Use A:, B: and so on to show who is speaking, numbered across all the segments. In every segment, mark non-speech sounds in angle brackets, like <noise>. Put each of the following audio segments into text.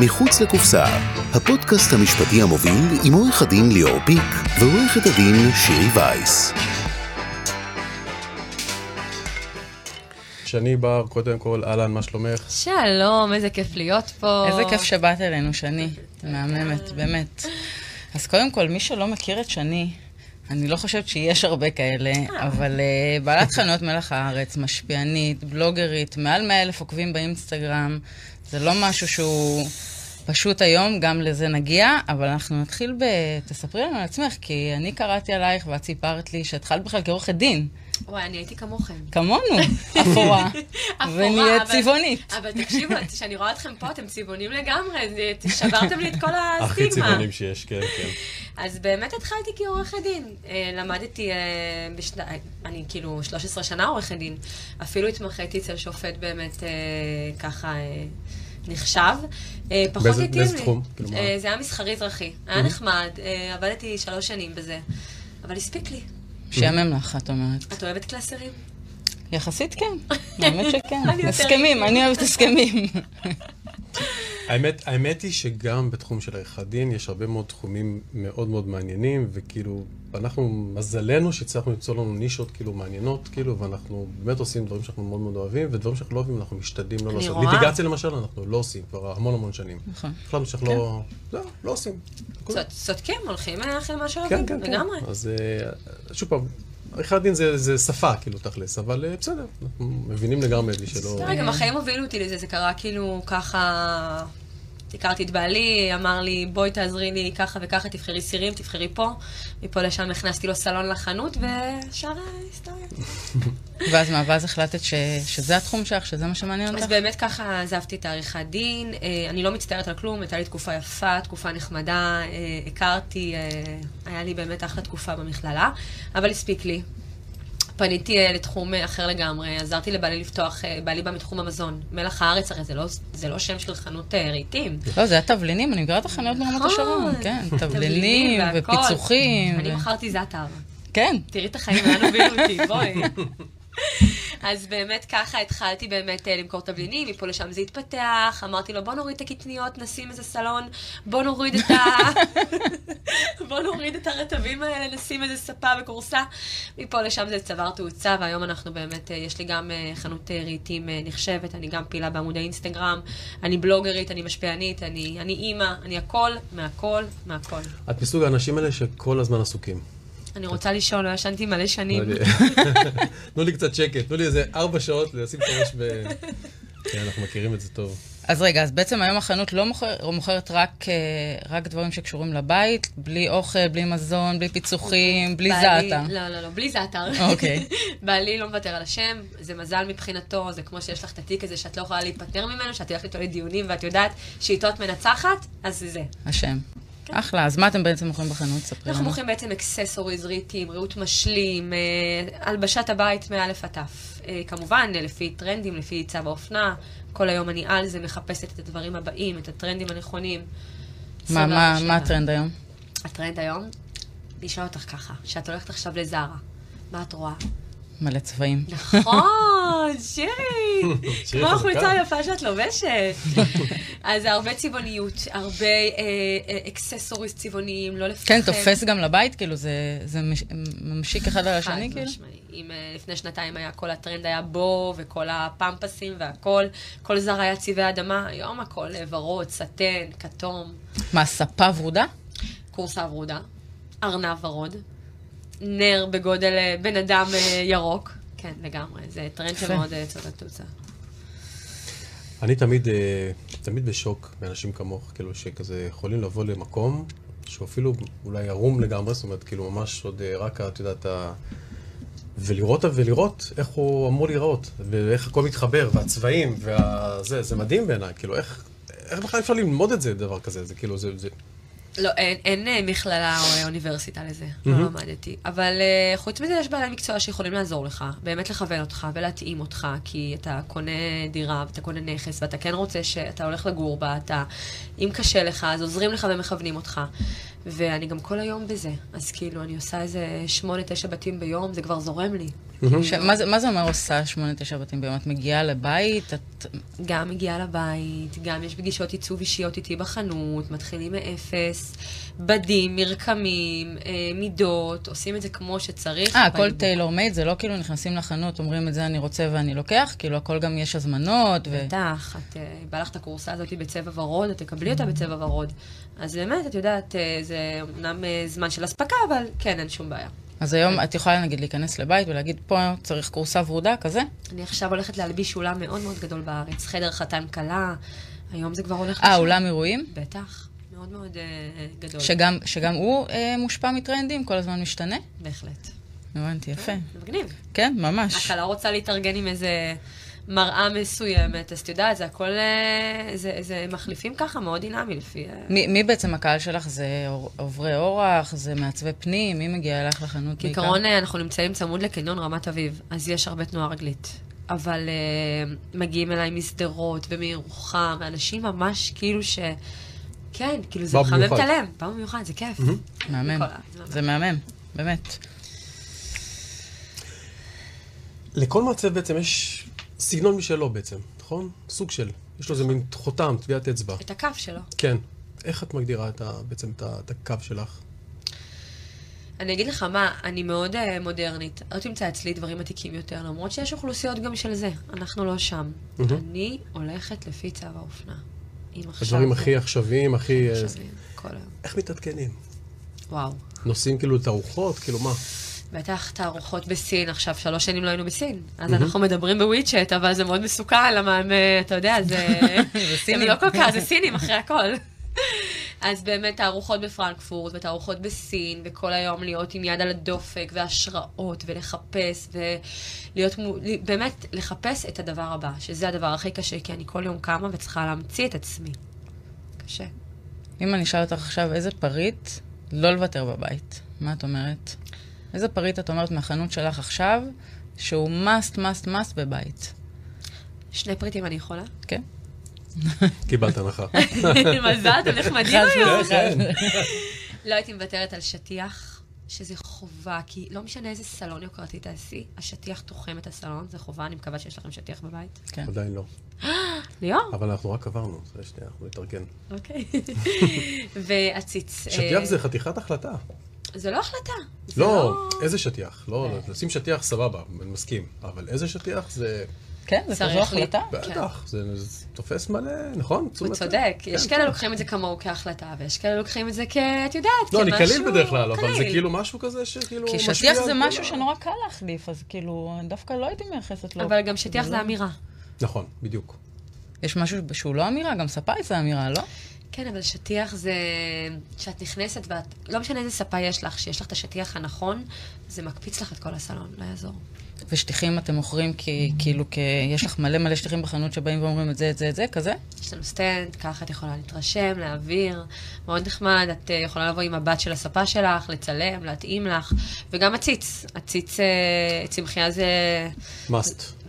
A: מחוץ לקופסה, הפודקאסט המשפטי המוביל עם עורך הדין ליאור פיק ועורכת הדין שירי וייס.
B: שני בר, קודם כל, אהלן, מה שלומך?
C: שלום, איזה כיף להיות פה.
D: איזה כיף שבאת אלינו, שני. את מהממת, באמת. אז קודם כל, מי שלא מכיר את שני, אני לא חושבת שיש הרבה כאלה, אבל אה, בעלת חנויות מלח הארץ, משפיענית, בלוגרית, מעל 100 אלף עוקבים באינסטגרם. זה לא משהו שהוא פשוט היום, גם לזה נגיע, אבל אנחנו נתחיל ב... תספרי לנו על עצמך, כי אני קראתי עלייך ואת סיפרת לי שהתחלת בכלל כעורכת דין.
C: וואי, אני הייתי כמוכם.
D: כמונו, <laughs> אפורה,
C: אפורה,
D: ונהיית
C: אבל-
D: צבעונית.
C: אבל תקשיבו, כשאני רואה אתכם פה, אתם צבעונים לגמרי, זה- שברתם לי את
B: <laughs>
C: כל
B: הכי
C: הסטיגמה.
B: צבעונים שיש, כן, כן.
C: אז באמת התחלתי כעורכת דין. אה, למדתי, אה, בשנ... אה, אני כאילו 13 שנה עורכת דין. אפילו התמחיתי אצל שופט באמת אה, ככה אה, נחשב. אה, פחות
B: באיזה-
C: התאים לי.
B: באיזה תחום? כאילו, מה?
C: אה, זה היה מסחרי-אזרחי. היה נחמד, אה, עבדתי שלוש שנים בזה. אבל הספיק לי.
D: משעמם לך, את אומרת.
C: את אוהבת קלסרים?
D: יחסית כן,
C: <laughs>
D: האמת
C: אני יותר
D: שכן. הסכמים,
C: איטית.
D: אני
C: <laughs>
D: אוהבת הסכמים.
B: האמת, האמת היא שגם בתחום של עריכת דין יש הרבה מאוד תחומים מאוד מאוד מעניינים, וכאילו, אנחנו, מזלנו שהצלחנו למצוא לנו נישות כאילו מעניינות, כאילו, ואנחנו באמת עושים דברים שאנחנו מאוד מאוד אוהבים, ודברים שאנחנו לא אוהבים, אנחנו משתדלים לא
C: אני
B: לעשות.
C: רואה.
B: ליטיגציה למשל, אנחנו לא עושים כבר המון המון שנים.
D: נכון.
B: החלטנו שאנחנו
C: כן.
B: לא... לא, לא עושים. נקודה.
C: צוד- צודקים, כן, הולכים אחרי מה שאוהבים,
B: כן, כן, כן.
C: לגמרי.
B: אז אה, שוב פעם, עריכת דין זה, זה שפה, כאילו, תכלס, אבל אה, בסדר, אנחנו מבינים לגמרי את מי שלא...
C: תראה, גם החיים הובילו אותי לזה, זה קרה כאילו ככה... הכרתי את בעלי, אמר לי, בואי תעזרי לי ככה וככה, תבחרי סירים, תבחרי פה. מפה לשם הכנסתי לו סלון לחנות, ושאר ההיסטוריה.
D: ואז מה, ואז החלטת ש- שזה התחום שלך, שזה מה שמעניין
C: אז
D: אותך?
C: באמת ככה עזבתי את העריכת דין. אה, אני לא מצטערת על כלום, הייתה לי תקופה יפה, תקופה נחמדה, אה, הכרתי, אה, היה לי באמת אחלה תקופה במכללה, אבל הספיק לי. פניתי אה, לתחום אה, אחר לגמרי, עזרתי לבעלי לפתוח, אה, בעלי בא מתחום המזון. מלח הארץ, הרי זה לא, זה לא שם של חנות אה, רהיטים.
D: לא, זה היה תבלינים, אני מכירה את החנויות ברמת
C: נכון.
D: השרון. כן,
C: תבלינים
D: תבלינים
C: והכל.
D: ופיצוחים.
C: אני
D: ו-
C: מכרתי זאטר.
D: כן.
C: תראי את החיים, לאן הובילו אותי, בואי. אז באמת ככה התחלתי באמת אה, למכור תבלינים, מפה לשם זה התפתח, אמרתי לו בוא נוריד את הקטניות, נשים איזה סלון, בוא נוריד את ה... <laughs> בוא נוריד את הרטבים האלה, נשים איזה ספה וכורסה. מפה לשם זה צבר תאוצה, והיום אנחנו באמת, אה, יש לי גם אה, חנות אה, רהיטים אה, נחשבת, אני גם פעילה בעמוד האינסטגרם, אני בלוגרית, אני משפיענית, אני אני אימא, אני הכל, מהכל, מהכל.
B: את מסוג האנשים האלה שכל הזמן עסוקים. אוקיי.
C: אני רוצה לישון, לא ישנתי מלא שנים.
B: <laughs> תנו לי קצת שקט, תנו לי איזה ארבע שעות לשים את הראש ב... כן, אנחנו מכירים את זה טוב.
D: אז רגע, אז בעצם היום החנות לא מוכר- מוכרת רק, אה, רק דברים שקשורים לבית, בלי אוכל, בלי מזון, בלי פיצוחים, בלי
C: בעלי-
D: זעתה.
C: לא, לא, לא, בלי זעתר.
D: אוקיי.
C: <laughs> בעלי לא מוותר על השם, זה מזל מבחינתו, זה כמו שיש לך את התיק הזה שאת לא יכולה להיפטר ממנו, שאת הולכת איתו לדיונים ואת יודעת שאיתו את מנצחת, אז זה זה.
D: השם. אחלה, אז מה אתם בעצם מוכרים בחנות? ספרי
C: כן. אנחנו
D: לנו.
C: מוכרים בעצם אקססוריז, ריהיטים, ריהוט משלים, אה, הלבשת הבית מאלף עד תף. אה, כמובן, אה, לפי טרנדים, לפי צו האופנה, כל היום אני על זה מחפשת את הדברים הבאים, את הטרנדים הנכונים.
D: מה- מה-
C: 24/7.
D: מה הטרנד היום?
C: הטרנד היום, לשאול אותך ככה, שאת הולכת עכשיו לזרה, מה את רואה?
D: מלא צבעים.
C: נכון, שירי,
B: <laughs> שירי
C: כמו
B: חזקה.
C: החולצה היפה שאת לובשת. <laughs> אז זה הרבה צבעוניות, הרבה אה, אה, אקססוריז צבעוניים, לא לפחד.
D: כן, תופס גם לבית, כאילו, זה זה מש- ממשיק אחד על השני,
C: חד
D: כאילו?
C: משמעי. אם אה, לפני שנתיים היה כל הטרנד היה בו, וכל הפמפסים והכל, כל זר היה צבעי אדמה, היום הכל אה, ורוד, סטן, כתום,
D: מה, ספה ורודה?
C: כורסה ורודה, ארנב ורוד, נר בגודל אה, בן אדם אה, ירוק. כן, לגמרי, זה טרנד
D: יפה.
C: שמאוד אה, צודק תוצאה.
B: אני תמיד, אה, תמיד בשוק מאנשים כמוך, כאילו, שכזה יכולים לבוא למקום שהוא אפילו אולי ערום לגמרי, זאת אומרת, כאילו, ממש עוד אה, רק, את יודעת, ה... ולראות, ולראות איך הוא אמור להיראות, ואיך הכל מתחבר, והצבעים, וה... זה, זה מדהים בעיניי, כאילו, איך, איך בכלל אפשר ללמוד את זה, דבר כזה, זה כאילו, זה, זה...
C: לא, אין, אין אה, מכללה או אה, אוניברסיטה לזה, לא למדתי. אבל אה, חוץ מזה, יש בעלי מקצוע שיכולים לעזור לך, באמת לכוון אותך ולהתאים אותך, כי אתה קונה דירה ואתה קונה נכס, ואתה כן רוצה שאתה הולך לגור בה, אתה, אם קשה לך, אז עוזרים לך ומכוונים אותך. ואני גם כל היום בזה, אז כאילו, אני עושה איזה שמונה, תשע בתים ביום, זה כבר זורם לי.
D: ש- מה זה- מה זה אומר עושה שמונה, תשע בתים ביום? את מגיעה לבית, את... אה,
C: גם מגיעה לבית, גם יש פגישות עיצוב אישיות איתי בחנות, מתחילים מאפס, בדים, מרקמים, אה, מידות, עושים את זה כמו שצריך.
D: אה, הכל
C: בלבוש.
D: טיילור מייד, זה לא כאילו נכנסים לחנות, אומרים את זה אני רוצה ואני לוקח, כאילו הכל גם יש הזמנות, ו...
C: בטח, את, אה, בא לך את הכורסה הזאת בצבע ורוד, את תקבלי אותה בצבע ורוד. אז באמת, את יודעת, אה, זה אמנם אה, זמן של אספקה, אבל כן, אין שום בעיה.
D: אז היום את יכולה נגיד להיכנס לבית ולהגיד, פה צריך כורסה ורודה, כזה? אה,
C: אני עכשיו הולכת להלביש אולם מאוד מאוד גדול בארץ, חדר חתן כלה, היום זה כבר הולך...
D: אה,
C: לשם.
D: אולם אירועים?
C: בטח, מאוד מאוד אה, גדול.
D: שגם, שגם הוא אה, מושפע מטרנדים, כל הזמן משתנה?
C: בהחלט.
D: הבנתי, יפה.
C: זה מגניב.
D: כן, ממש.
C: הכלה לא רוצה להתארגן עם איזה מראה מסוימת, אז את יודעת, זה הכל... אה, זה, זה מחליפים ככה מאוד דינמי לפי... אה,
D: מי, מי בעצם הקהל שלך? זה אור- עוברי אורח? זה מעצבי פנים? מי מגיע אלייך לחנות בעיקר?
C: כעיקרון אה, אנחנו נמצאים צמוד לקניון רמת אביב, אז יש הרבה תנועה רגלית. אבל uh, מגיעים אליי משדרות ומירוחם, ואנשים ממש כאילו ש... כן, כאילו זה
B: באו
C: מחמם את
B: במיוחד.
C: הלב, פעם במיוחד, זה כיף.
D: מהמם.
C: מכל הזמן.
D: זה מהמם, באמת.
B: לכל מעצב בעצם יש סגנון משלו בעצם, נכון? סוג של. יש לו איזה מין חותם, טביעת אצבע.
C: את הכף שלו.
B: כן. איך את מגדירה את ה, בעצם את, ה, את הקו שלך?
C: אני אגיד לך מה, אני מאוד אה, מודרנית. לא תמצא אצלי דברים עתיקים יותר, למרות שיש אוכלוסיות גם של זה. אנחנו לא שם. אני הולכת לפי צו האופנה. אם עכשיו...
B: הדברים
C: זה-
B: הכי עכשוויים, הכי... אה,
C: עכשוויים, כל היום.
B: איך מתעדכנים?
C: וואו.
B: נוסעים כאילו תערוכות? כאילו מה?
C: בטח תערוכות בסין, עכשיו שלוש שנים לא היינו בסין. אז אנחנו מדברים בוויצ'ט, אבל זה מאוד מסוכן, למה הם, אה, אתה יודע, זה...
D: זה
C: הם
D: סינים.
C: לא כל כך, זה סינים אחרי הכל. <laughs> אז באמת תערוכות בפרנקפורט, ותערוכות בסין, וכל היום להיות עם יד על הדופק, והשראות, ולחפש, ולהיות, מו- באמת, לחפש את הדבר הבא, שזה הדבר הכי קשה, כי אני כל יום קמה וצריכה להמציא את עצמי. קשה.
D: אם אני אשאל אותך עכשיו איזה פריט לא לוותר בבית, מה את אומרת? איזה פריט את אומרת מהחנות שלך עכשיו, שהוא must, must, must בבית?
C: שני פריטים אני יכולה? <laughs>
D: כן?
B: קיבלת הנחה.
C: כן. מזל, אתם נחמדים היום.
B: כן.
C: לא הייתי מוותרת על שטיח, שזה חובה, כי לא משנה איזה סלון יוקרתי תעשי, השטיח תוחם את הסלון, זה חובה, אני מקווה שיש לכם שטיח בבית.
D: כן.
B: עדיין לא.
C: ליאור?
B: אבל אנחנו רק עברנו, זה שנייה, אנחנו נתארגן.
C: אוקיי. <laughs> והציץ... אה,
B: שטיח זה חתיכת החלטה.
C: זה לא החלטה. זה אה.
B: לא, איזה שטיח? לא, לשים שטיח סבבה, אני מסכים. אבל איזה שטיח זה...
D: כן, זה
C: צריך
D: כזו החלטה?
C: לי-
B: בטח, זה זה תופס מלא, נכון?
C: הוא
B: תשומת לב.
C: צודק, יש
B: כן.
C: כאלה לוקחים את זה כמוהו כהחלטה, ויש כאלה לוקחים את זה כ... את יודעת, כמשהו... אוקיי.
B: לא, אני קליל בדרך כלל, אבל זה
C: קליל.
B: כאילו משהו כזה שכאילו
D: כי
B: משפיע
D: שטיח
B: על
D: זה
B: כל
D: משהו
B: ה-
D: שנורא קל להחליף, אז כאילו, דווקא לא הייתי מייחסת לו.
C: אבל גם שטיח
D: לא.
C: זה אמירה.
B: נכון, בדיוק.
D: יש משהו שהוא לא אמירה, גם ספאי זה אמירה, לא?
C: כן, אבל שטיח זה... כשאת נכנסת ואת... לא משנה איזה ספה יש לך, שיש לך את השטיח הנכון, זה מקפיץ לך את כל הסלון, לא יעזור.
D: ושטיחים אתם מוכרים כי כאילו, כי יש לך מלא מלא שטיחים בחנות שבאים ואומרים את זה, את זה, את זה, כזה?
C: יש לנו סטנד, ככה את יכולה להתרשם, להעביר, מאוד נחמד, את אה, יכולה לבוא עם הבת של הספה שלך, לצלם, להתאים לך, וגם עציץ, עציץ אה, צמחייה זה...
B: must.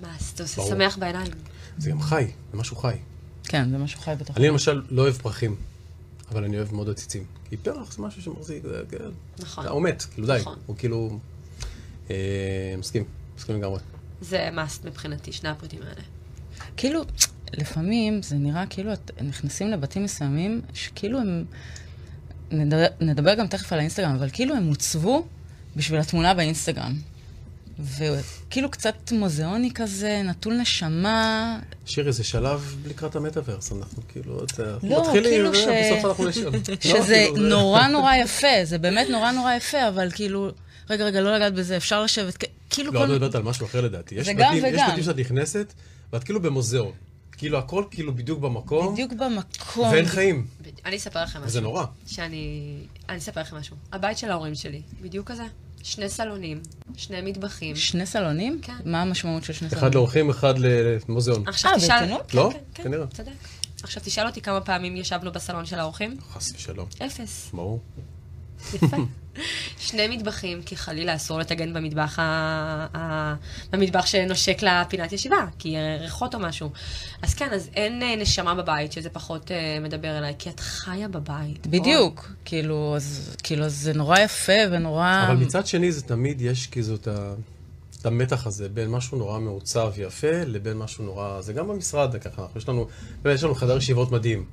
C: מה, זה עושה
B: ברור.
C: שמח בעיניים.
B: זה גם חי, זה משהו חי.
D: כן, זה משהו חי בתוך.
B: אני למשל לא אוהב פרחים, אבל אני אוהב מאוד עציצים. כי פרח זה משהו שמחזיק, זה כן.
C: נכון.
B: אתה עומד, כאילו די.
C: נכון.
B: הוא כאילו... אה, מסכים, מסכים לגמרי.
C: זה must מבחינתי, שני הפריטים האלה.
D: כאילו, לפעמים זה נראה כאילו את נכנסים לבתים מסוימים, שכאילו הם... נדבר, נדבר גם תכף על האינסטגרם, אבל כאילו הם הוצבו בשביל התמונה באינסטגרם. וכאילו קצת מוזיאוני כזה, נטול נשמה.
B: שירי, זה שלב לקראת המטאוורס, אנחנו כאילו... אתה- אנחנו
D: לא,
B: מתחילים,
D: כאילו ש-
B: ובסוף אנחנו
D: <laughs>
B: נשאר. לא, כאילו,
D: שזה נורא נורא יפה, זה באמת נורא נורא יפה, אבל כאילו, רגע, רגע, לא לגעת בזה, אפשר לשבת, כ-
B: <laughs>
D: כאילו
B: לא, את
D: כל...
B: יודעת על משהו אחר לדעתי. יש
D: זה גם
B: בתים- יש
D: וגם.
B: בתים שאת נכנסת, ואת כאילו במוזיאון. כאילו, הכל כאילו בדיוק במקום,
D: בדיוק במקום.
B: ואין חיים.
C: בד- לא, אני אספר לכם משהו.
B: וזה נורא.
C: שאני... אני אספר לכם משהו. הבית של ההורים שלי, בדיוק כזה. שני סלונים, שני מטבחים.
D: שני סלונים?
C: כן.
D: מה המשמעות של שני סלונים?
B: אחד לא- לאורחים, אחד למוזיאון.
C: עכשיו
D: אה,
C: תשאל...
D: ברצינות?
C: כן,
B: לא?
C: כן, כן,
B: כנראה.
C: צודק. עכשיו תשאל אותי כמה פעמים ישבנו בסלון של האורחים.
B: חס ושלום.
C: אפס.
B: ברור.
C: יפה. שני מטבחים, כי חלילה אסור לטגן במטבח, ה... ה... במטבח שנושק לפינת ישיבה, כי ריחות או משהו. אז כן, אז אין אה, נשמה בבית, שזה פחות אה, מדבר אליי, כי את חיה בבית.
D: בדיוק,
C: אה.
D: כאילו, אז, כאילו, אז זה נורא יפה ונורא...
B: אבל מצד שני, זה תמיד יש כאילו את ה... את המתח הזה בין משהו נורא מעוצב ויפה לבין משהו נורא... זה גם במשרד ככה, אנחנו- יש לנו, באמת, יש לנו חדר ישיבות מדהים.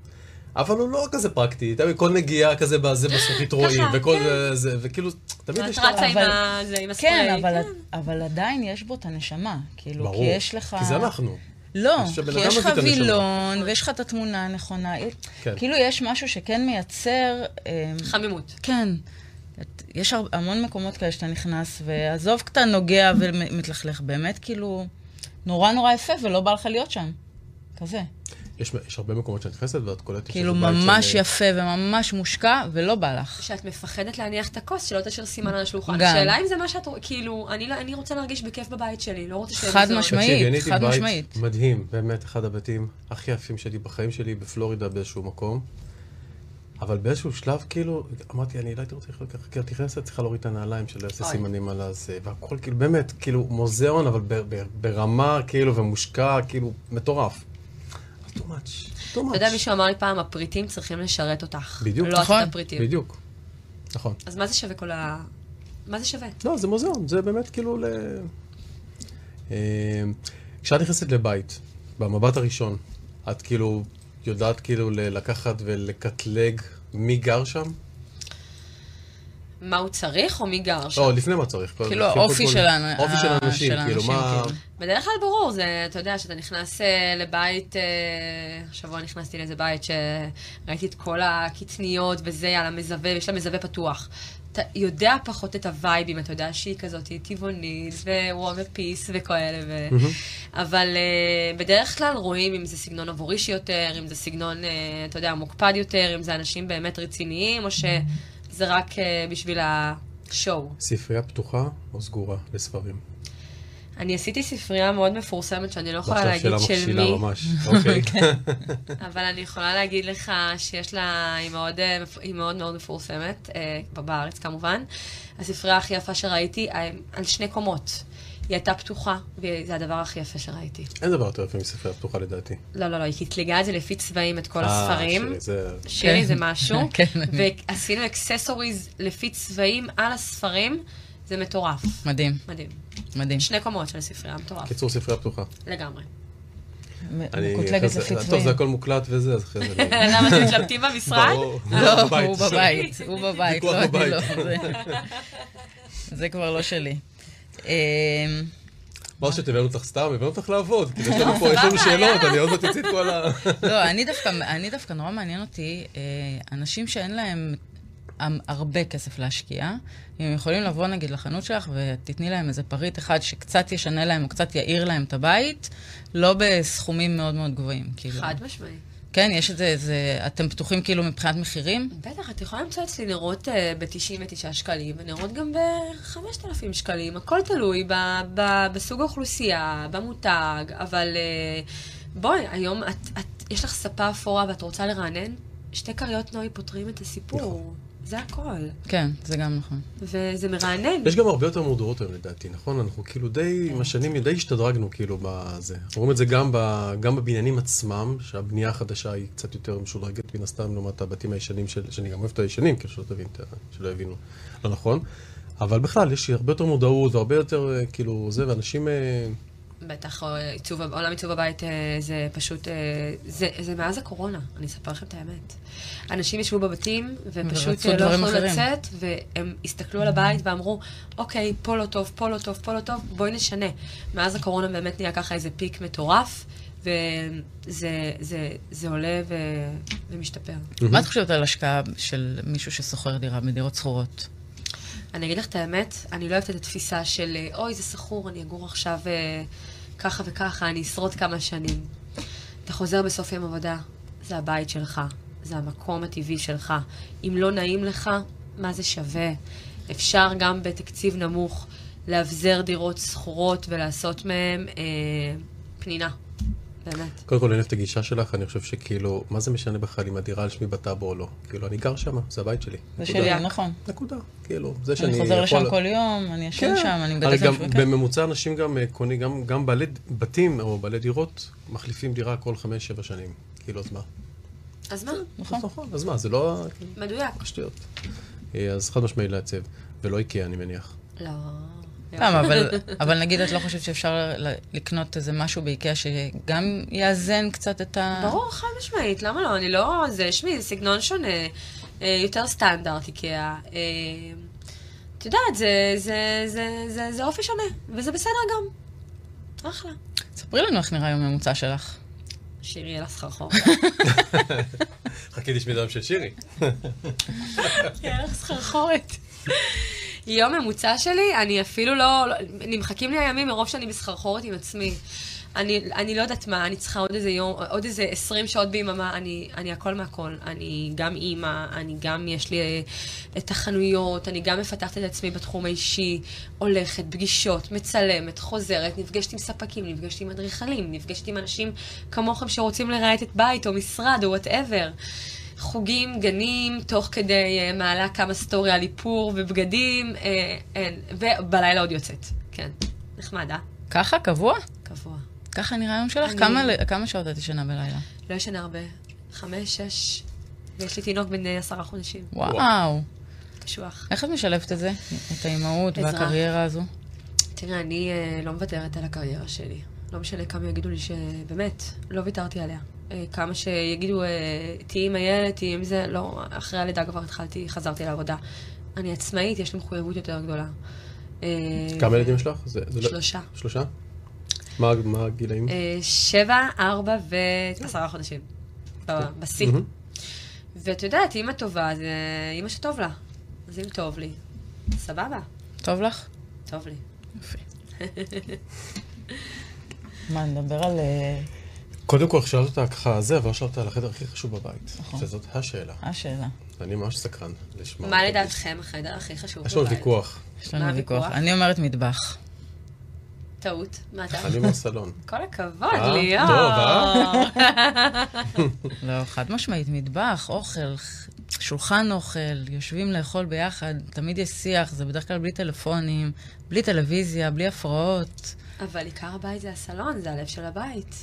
B: אבל הוא לא כזה פרקטי, תמיד כל נגיעה כזה בזה בסופית רואים,
C: ככה,
B: וכל
C: כן.
B: זה- זה, וכאילו, תמיד יש...
C: ואת
B: את
C: רצה
B: ה-
C: עם
D: אבל-
C: ה- זה, עם הספרי.
D: כן, אבל- אבל עדיין יש בו את הנשמה. כאילו, כי
B: ברור,
D: יש לך...
B: כי זה אנחנו.
D: לא,
B: אני חושב שבן
D: כי
B: אדם
D: יש לך
B: מביא את הנשמה.
D: וילון, ויש לך את התמונה הנכונה.
B: כן.
D: כאילו, יש משהו שכן מייצר... אמ,
C: חמימות.
D: כן. את- יש הר- המון מקומות כאלה שאתה נכנס, ועזוב כשאתה נוגע ומתלכלך, באמת כאילו נורא נורא יפה ולא בא לך להיות שם. כזה.
B: יש יש הרבה מקומות שאת נכנסת ואת קולטת שזה
D: כאילו
B: בית של-
D: ממש יפה וממש מושקע ולא בא לך.
C: שאת מפחדת להניח את הכוס, שלא תשאיר סימן על השולחן.
D: גם.
C: השאלה אם זה מה שאת... כאילו, אני, לא- אני רוצה להרגיש בכיף בבית שלי, לא רוצה
D: חד
C: זה-
D: משמעית.
B: תקשיבי, אני הייתי
D: חד
B: בבית
D: משמעית.
B: מדהים, באמת, אחד הבתים הכי יפים שלי בחיים שלי, בפלורידה באיזשהו מקום. אבל באיזשהו שלב, כאילו, אמרתי, אני לא הייתי רוצה לחיות ככה, כאילו, את נכנסת, צריכה להוריד את הנעליים של איזה
C: אוי.
B: סימנים על הזה, והכל, כאילו, באמת, כאילו, מוזיאון, אבל ב- ב- ברמה, כאילו, ומושקע, כאילו, מטורף. אז too much, too much.
C: אתה יודע, מישהו אמר לי פעם, הפריטים צריכים לשרת אותך.
B: בדיוק.
C: לא
D: נכון.
C: את הפריטים.
B: בדיוק, נכון.
C: אז מה זה שווה כל ה... מה זה שווה?
B: לא, זה מוזיאון, זה באמת כאילו ל... אה, כשאת נכנסת לבית, במבט הראשון, את כאילו יודעת כאילו ל- לקחת ולקטלג מי גר שם?
C: מה הוא צריך או מי גר שם?
B: לא, לפני מה צריך. כל-
D: כאילו
B: לפני
D: האופי
B: כל-
D: של האנ-
B: האופי של
D: ה-
B: האנשים,
D: של
B: כאילו
D: האנשים,
B: מה...
D: כאילו.
C: בדרך כלל ברור, זה, אתה יודע, שאתה נכנס אה, לבית, אה, השבוע נכנסתי לאיזה בית שראיתי את כל הקטניות וזה, על המזווה, ויש לה מזווה פתוח. אתה יודע פחות את הווייבים, אתה יודע שהיא כזאת היא טבעונית, ו-war ופיס וכאלה, ו... אבל אה, בדרך כלל רואים אם זה סגנון עבורישי יותר, אם זה סגנון, אה, אתה יודע, מוקפד יותר, אם זה אנשים באמת רציניים, או שזה רק אה, בשביל השואו.
B: ספרייה פתוחה או סגורה לספרים?
C: אני עשיתי ספרייה מאוד מפורסמת, שאני לא יכולה
B: ועכשיו שאלה
C: להגיד של
B: מכשילה
C: מי,
D: <laughs>
B: ממש. אוקיי.
D: כן.
C: אבל אני יכולה להגיד לך שיש לה, היא מאוד אה, מפ- היא מאוד, מאוד מפורסמת, אה, פה בארץ כמובן. הספרייה הכי יפה שראיתי, אה, על שני קומות. היא הייתה פתוחה, וזה הדבר הכי יפה שראיתי.
B: אין דבר יותר יפה מספרייה פתוחה לדעתי.
C: לא, לא, לא, היא קטלגה את זה לפי צבעים, את כל
B: אה,
C: הספרים.
B: שלי, זה-
C: שירי
D: כן.
C: זה משהו,
D: <laughs> כן.
C: ועשינו אקססוריז לפי צבעים על הספרים, זה מטורף.
D: מדהים,
C: מדהים.
D: מדהים.
C: שני קומות של הספרייה, מטורף.
B: קיצור, ספרייה פתוחה.
C: לגמרי. <laughs>
B: אני-
D: מקוטלגת
B: אחרי זה-
D: לפי
B: טוב, זה
D: צבעים.
B: הכל מוקלט וזה, אז אחרי
D: <laughs>
B: זה... אני-
C: למה אתם מתלבטים במשרד?
B: ברור. <laughs>
D: לא,
B: בבית,
D: הוא
B: בסדר.
D: בבית, הוא בבית,
B: ויכוח
D: לא, אני
B: בבית.
D: לא. זה- זה כבר לא שלי. אמ,
B: מה שתבענו אותך סתם, הבאנו אותך לעבוד. כאילו, יש לנו פה, יש לנו שאלות, אני עוד מעט אוציא את כל ה...
D: לא, אני דווקא, אני דווקא נורא מעניין אותי, אה, אנשים שאין להם המ- הרבה כסף להשקיע, אם הם יכולים לבוא נגיד לחנות שלך ותתני להם איזה פריט אחד שקצת ישנה להם או קצת יאיר להם את הבית, לא בסכומים מאוד מאוד גבוהים. כאילו.
C: חד משמעי.
D: כן, יש את זה, זה, אתם פתוחים כאילו מבחינת מחירים?
C: בטח, את יכולה למצוא אצלי נרות אה, ב-99 שקלים, ונרות גם ב-5,000 שקלים. הכל תלוי ב- ב- בסוג האוכלוסייה, במותג, אבל אה, בואי, היום את, את, יש לך ספה אפורה ואת רוצה לרענן? שתי כריות נוי פותרים את הסיפור. זה הכל.
D: כן, זה גם נכון.
C: וזה מרענן.
B: יש גם הרבה יותר מהודרות היום לדעתי, נכון? אנחנו כאילו די, עם השנים די השתדרגנו כאילו בזה. אנחנו רואים את זה גם, ב, גם בבניינים עצמם, שהבנייה החדשה היא קצת יותר משודרגת מן הסתם לעומת הבתים הישנים, של, שאני גם אוהב את הישנים, כאילו שלא תבין, את ה- שלא יבינו, לא נכון. אבל בכלל, יש הרבה יותר מודעות והרבה יותר אה, כאילו זה, ואנשים... אה,
C: בטח, אה, עיצוב, הב- עולם עיצוב הבית אה, זה פשוט, אה, זה, זה מאז הקורונה, אני אספר לכם את האמת. אנשים ישבו בבתים, ופשוט
D: ורצו
C: אה, לא
D: דברים
C: יכלו
D: אחרים.
C: לצאת, והם הסתכלו על הבית ואמרו, אוקיי, פה לא טוב, פה לא טוב, פה לא טוב, בואי נשנה. מאז הקורונה באמת נהיה ככה איזה פיק מטורף, וזה זה, זה עולה ו, ומשתפר.
D: מה את חושבת על השקעה של מישהו ששוכר דירה בדירות שכורות?
C: אני אגיד לך את האמת, אני לא אוהבת את התפיסה של אה, אוי, זה סחור, אני אגור עכשיו אה, ככה וככה, אני אשרוד כמה שנים. אתה חוזר בסוף יום עבודה, זה הבית שלך, זה המקום הטבעי שלך. אם לא נעים לך, מה זה שווה? אפשר גם בתקציב נמוך לאבזר דירות שכורות ולעשות מהן אה, פנינה, באמת.
B: קודם כל, אני אוהב את הגישה שלך, אני חושב שכאילו, מה זה משנה בכלל אם הדירה על שמי בטאבו או לא? כאילו, אני גר שם, זה הבית שלי.
D: זה
B: נקודה.
D: שלי, נכון.
B: נקודה. כאילו, זה שאני
D: אני חוזר לשם
B: יכול-
D: כל יום, אני ישן שם, אני
B: הרי
D: מגדלת
B: גם
D: מפרקה.
B: בממוצע אנשים גם אה, קונים, גם, גם בעלי ד- בתים או בעלי דירות מחליפים דירה כל חמש-שבע שנים. כאילו, אז מה?
C: אז מה?
D: נכון.
B: אז נכון, אז מה, זה לא כאילו,
C: מדויק.
B: השטויות. אה, אז חד משמעית לעצב, ולא איקאה, אני מניח.
C: לא.
D: למה, אבל, אבל נגיד את לא חושבת שאפשר ל- לקנות איזה משהו באיקאה שגם יאזן קצת את ה...
C: ברור, חד משמעית, למה לא? אני לא... זה, שמי, זה סגנון שונה, אה, יותר סטנדרט איקאה. אה, את יודעת, זה, זה, זה, זה, זה אופי שונה, וזה בסדר גם. אחלה.
D: ספרי לנו איך נראה יום ממוצע שלך.
C: שירי אל הסחרחור.
B: חכי תשמעי דם של שירי.
C: יהיה לך כן, סחרחורת. יום ממוצע שלי, אני אפילו לא... לא- נמחקים לי הימים מרוב שאני בסחרחורת עם עצמי. אני, אני לא יודעת מה, אני צריכה עוד איזה יום, עוד איזה 20 שעות ביממה, אני, אני הכל מהכל. אני גם אימא, אני גם, יש לי אה, את החנויות, אני גם מפתחת את עצמי בתחום האישי, הולכת, פגישות, מצלמת, חוזרת, נפגשת עם ספקים, נפגשת עם אדריכלים, נפגשת עם אנשים כמוכם שרוצים לראיית את בית או משרד או וואטאבר. חוגים, גנים, תוך כדי אה, מעלה כמה סטורי על איפור ובגדים, אה, אין. ובלילה עוד יוצאת, כן. נחמד, אה?
D: ככה, קבוע?
C: קבוע.
D: ככה נראה היום שלך?
C: אני-
D: כמה, ל- כמה שעות את ישנה בלילה?
C: לא ישנה הרבה. חמש, שש, ויש לי תינוק בן אה, עשרה חודשים.
D: וואו.
C: קשוח.
D: איך את משלבת את זה? את האימהות
C: עזרה.
D: והקריירה הזו?
C: תראה, אני אה, לא מוותרת על הקריירה שלי. לא משנה כמה יגידו לי שבאמת, לא ויתרתי עליה. אה, כמה שיגידו, אה, תהיי עם הילד, תהיי עם זה, לא, אחרי הלידה כבר התחלתי, חזרתי לעבודה. אני עצמאית, יש לי מחויבות יותר גדולה. אה,
B: כמה ילדים יש לך? זה- זה לא-
C: שלושה.
B: שלושה? מה- מה הגילאים?
C: אה, שבע, ארבע ועשרה חודשים. ב- בשיא.
B: כן. מהמם.
C: ואת יודעת, אימא טובה, זה אימא שטוב לה. אז אם טוב לי, סבבה,
D: טוב לך?
C: טוב לי.
B: אוקיי.
D: מה, נדבר על... אה,
B: קודם כל, שאלת אותה ככה זה, אבל לא שאלת על החדר הכי חשוב בבית.
D: נכון.
B: שזאת השאלה.
D: השאלה.
B: אני ממש סקרן לשמוע.
C: מה
B: אותה.
C: לדעתכם החדר הכי חשוב
B: יש לנו
C: בבית?
B: ויכוח.
D: יש לנו
C: מה
D: ויכוח.
C: הוויכוח?
D: אני אומרת מטבח.
C: טעות. מה אתה?
B: אני מהסלון.
C: כל
B: אה,
C: הכבוד, ליאור.
B: טוב, אה?
D: לא, חד משמעית, מטבח, אוכל, ח- שולחן אוכל, יושבים לאכול ביחד, תמיד יש שיח, זה בדרך כלל בלי טלפונים, בלי טלוויזיה, בלי הפרעות.
C: אבל עיקר הבית זה הסלון, זה הלב של הבית.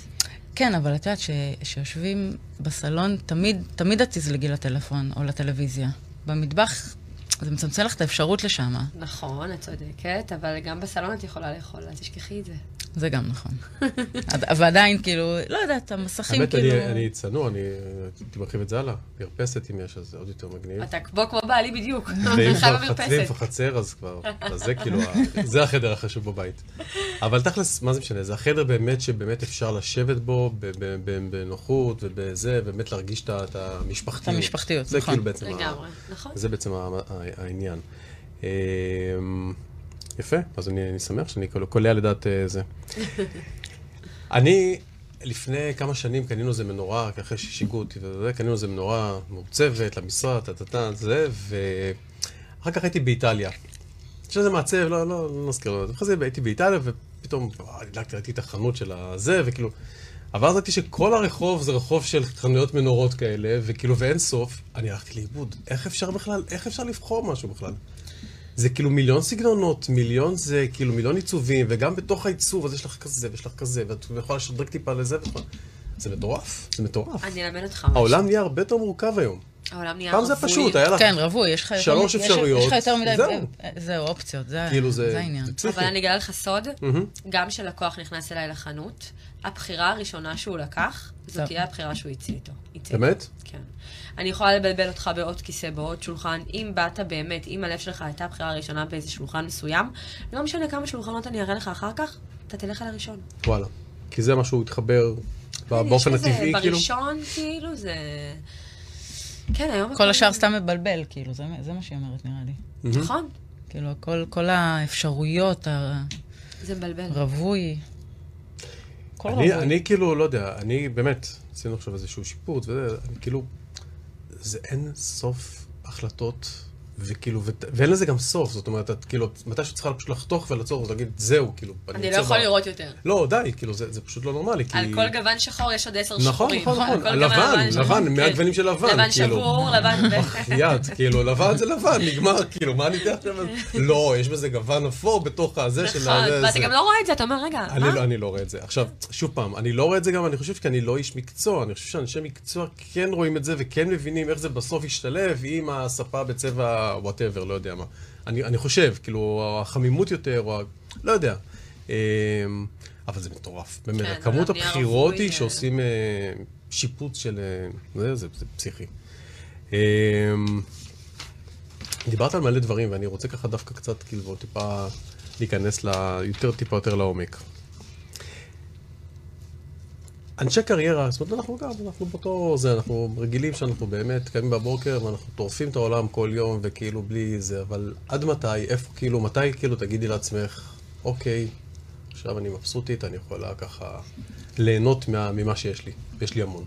D: כן, אבל את יודעת שיושבים בסלון, תמיד, תמיד את תזלגי לטלפון או לטלוויזיה. במטבח זה מצמצם לך את האפשרות לשם.
C: נכון, את צודקת, אבל גם בסלון את יכולה לאכול, אל תשכחי את זה.
D: זה גם נכון.
C: <laughs>
D: עד- ועדיין, כאילו, לא יודעת, המסכים
B: האמת,
D: כאילו...
B: אני- אני צנוע, אני הייתי מרחיב את זה הלאה. מרפסת, אם יש, אז זה עוד יותר מגניב.
C: אתה כמו כמו בעלי בדיוק. <laughs>
B: ואם
C: חי
B: כבר חצרים
C: במרפסת.
B: וחצר, אז כבר, אז זה כאילו, ה- זה החדר החשוב בבית. אבל תכלס, מה זה משנה? זה החדר באמת שבאמת אפשר לשבת בו ב- ב- ב- בנוחות ובזה, ובאמת להרגיש את ה- את המשפחתיות.
D: את המשפחתיות,
B: זה
D: נכון.
B: כאילו בעצם ה-
C: לגמרי, נכון.
B: זה בעצם ה- ה- העניין. אמ, יפה, אז אני, אני שמח שאני קול- קולע לדעת אה, זה. אני, לפני כמה שנים קנינו איזה מנורה, אחרי ששיגעו אותי וזה, קנינו איזה מנורה מעוצבת למשרד, טה-טה-טה, זה, ואחר כך הייתי באיטליה. שזה מעצב, לא, לא, לא נזכיר לו את זה. אחרי זה הייתי באיטליה, ופתאום, וואי, דילגתי, ראיתי את החנות של הזה, וכאילו... אבל אז ראיתי שכל הרחוב זה רחוב של חנויות מנורות כאלה, וכאילו, ואין סוף. אני הלכתי לאיבוד. איך אפשר בכלל, איך אפשר לבחור משהו בכלל? זה כאילו מיליון סגנונות, מיליון זה, כאילו מיליון עיצובים, וגם בתוך העיצוב, אז יש לך כזה, ויש לך כזה, ואת יכולה לשדרג טיפה לזה, וכל... זה מטורף, זה מטורף.
C: אני אלמד אותך משהו.
B: העולם נהיה הרבה יותר מורכב היום.
C: העולם נהיה
B: פעם זה
C: רווי.
B: פשוט, היה לך...
D: כן, רווי, יש לך יותר-
B: שלוש
D: יש-
B: אפשרויות,
D: יש לך יותר מדי...
B: זהו.
D: אה, זהו, אופציות, זה
B: כאילו זה...
D: זה העניין.
B: זה פסיכי.
C: אבל אני אגלה לך סוד,
B: מהמם.
C: גם כשלקוח נכנס אליי לחנות, הבחירה הראשונה שהוא לקח, זו
D: טוב.
C: תהיה הבחירה שהוא הציע איתו. הציע
B: באמת?
C: איתו, כן. אני יכולה לבלבל אותך בעוד כיסא, בעוד שולחן. אם באת באמת, אם הלב שלך הייתה הבחירה הראשונה באיזה שולחן מסוים, לא משנה כמה שולחנות אני אראה לך אחר כך, אתה תלך על הראשון.
B: וואלה. כי זה מה שהוא התחבר באופן
C: כן, יש בזה-
B: הטבעי, כאילו.
C: בראשון, כאילו, זה... כן, היום...
D: כל
C: הכל-
D: השאר סתם מבלבל, כאילו, זה, זה מה שהיא אומרת, נראה לי.
C: נכון,
D: כאילו, הכל, כל האפשרויות,
C: זה מבלבל.
D: הרווי, כל
B: אני,
D: רווי.
B: אני כאילו, לא יודע, אני באמת, עשינו עכשיו איזשהו שיפוץ, וזה, אני כאילו, זה אין סוף החלטות, וכאילו, ות, ואין לזה גם סוף, זאת אומרת, את כאילו, מתי שאת צריכה פשוט לחתוך ולעצור, ולהגיד, זהו, כאילו,
C: אני לא
B: רוצה
C: יכול
B: ב-
C: לראות יותר.
B: לא, די, כאילו, זה, זה פשוט לא נורמלי, כי...
C: על כל גוון שחור יש עוד עשר
B: נכון,
C: שחורים.
B: נכון,
C: על
B: נכון.
C: כל
B: לבן,
C: גוון
B: לבן,
C: כן.
B: מהגוונים של לבן,
C: לבן
B: כאילו.
C: שבור, לבן
B: <laughs>
C: נכון. ו...
B: יד, כאילו, לבן זה לבן, נגמר, כאילו, מה אני אתן
C: <laughs>
B: עכשיו? לא, יש בזה גוון אפור בתוך הזה של... הזה,
C: נכון, ואתה
B: זה.
C: גם לא רואה את זה, אתה אומר, רגע,
B: אני
C: מה?
B: לא, אני לא רואה את זה. עכשיו, שוב פעם, אני לא רואה את זה גם, אני חושב כי אני לא איש מקצוע, אני חושב שאנשי מקצוע כן רואים את זה וכן מבינים איך זה בסוף ישתלב עם הספה בצבע וואטאבר, לא יודע מה. אני, אני חושב, כאילו, החמימות יותר, או ה... לא יודע. אה, אבל זה מטורף, באמת.
C: כן,
B: כמות
C: אבל הנייר
B: הבחירות
C: הרפואי,
B: היא
C: אה,
B: שעושים אה, שיפוץ של... אה, זה, זה, זה פסיכי. אה, דיברת על מלא דברים, ואני רוצה ככה דווקא קצת, כאילו, טיפה להיכנס ל... יותר, טיפה יותר לעומק. אנשי קריירה, זאת אומרת, אנחנו גם, אנחנו באותו זה, אנחנו רגילים שאנחנו באמת קמים בבוקר ואנחנו טורפים את העולם כל יום וכאילו בלי זה, אבל עד מתי, איפה, כאילו, מתי כאילו תגידי לעצמך, אוקיי, עכשיו אני מבסוטית, אני יכולה ככה ליהנות מה, ממה שיש לי, ויש לי המון.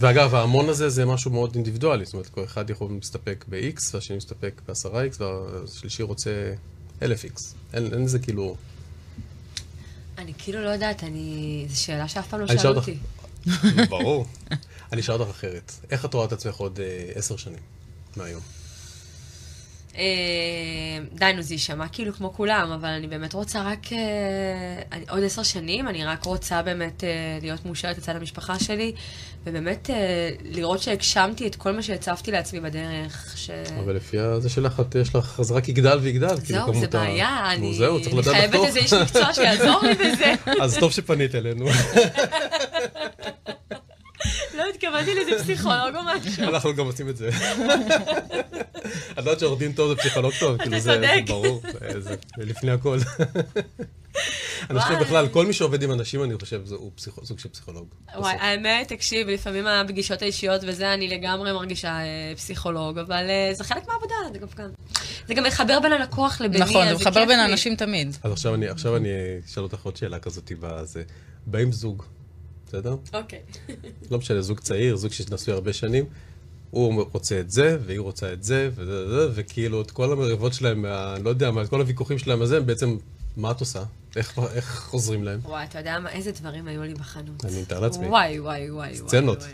B: ואגב, ההמון הזה זה משהו מאוד אינדיבידואלי, זאת אומרת, כל אחד יכול להסתפק ב-X, והשני מסתפק ב-10X, והשלישי רוצה 1000X. אין, אין זה כאילו...
C: אני כאילו לא יודעת, אני... זו שאלה שאף פעם לא
B: אני אשאל
C: שאלו
B: אותך-
C: אותי.
B: <laughs>
C: <laughs>
B: ברור. אני אשאל אותך אחרת. איך את רואה את עצמך עוד אה, עשר שנים מהיום?
C: אה, די, נו, זה יישמע כאילו כמו כולם, אבל אני באמת רוצה רק... אה, אני, עוד עשר שנים, אני רק רוצה באמת אה, להיות מאושרת לצד המשפחה שלי, ובאמת אה, לראות שהגשמתי את כל מה שהצבתי לעצמי בדרך. ש...
B: אבל לפי זה שלך, את- יש לך, אז רק יגדל ויגדל. כאילו,
C: אה. זהו, זה
B: כמות ה-
C: בעיה,
B: נו,
C: אני
B: זהו, צריך
C: אני
B: לדעת
C: חייבת
B: לחתוך.
C: איזה איש מקצוע שיעזור לי בזה.
B: <laughs> אז טוב שפנית
C: <laughs>
B: אלינו,
C: לא התכוונתי לזה פסיכולוג או משהו.
B: אנחנו גם עושים
C: <laughs>
B: את זה. את יודעת שעורך דין טוב זה פסיכולוג טוב, כאילו זה זה
C: צודק.
B: ברור, זה- זה לפני
C: <laughs>
B: הכל. אני חושב
C: וואי.
B: בכלל, כל מי שעובד עם אנשים, אני חושב, זה- הוא פסיכו- סוג של פסיכולוג.
C: וואי, האמת, תקשיב, לפעמים הפגישות האישיות וזה, אני לגמרי מרגישה אה, פסיכולוג, אבל אה, זה חלק מהעבודה, זה גם כאן. זה גם מחבר בין הלקוח לביני,
D: נכון,
C: אז
D: זה מחבר
C: כיף
D: בין
C: לי.
D: האנשים תמיד.
B: אז עכשיו אני- עכשיו אני אשאל אותך עוד שאלה כזאת, בזה. באים זוג, בסדר?
C: אוקיי.
B: לא משנה, זוג צעיר, זוג שנשוי הרבה שנים, הוא רוצה את זה, והיא רוצה את זה, וזה, וזה, וכאילו, את כל המריבות שלהם, מה, לא יודע, מה, את כל הוויכוחים שלהם, הזה, בעצם, מה את עושה? איך, איך עוזרים להם?
C: וואי, אתה יודע מה, איזה דברים היו לי בחנות.
B: אני מתאר לעצמי.
C: וואי, וואי, וואי.
B: סצנות.
C: וואי,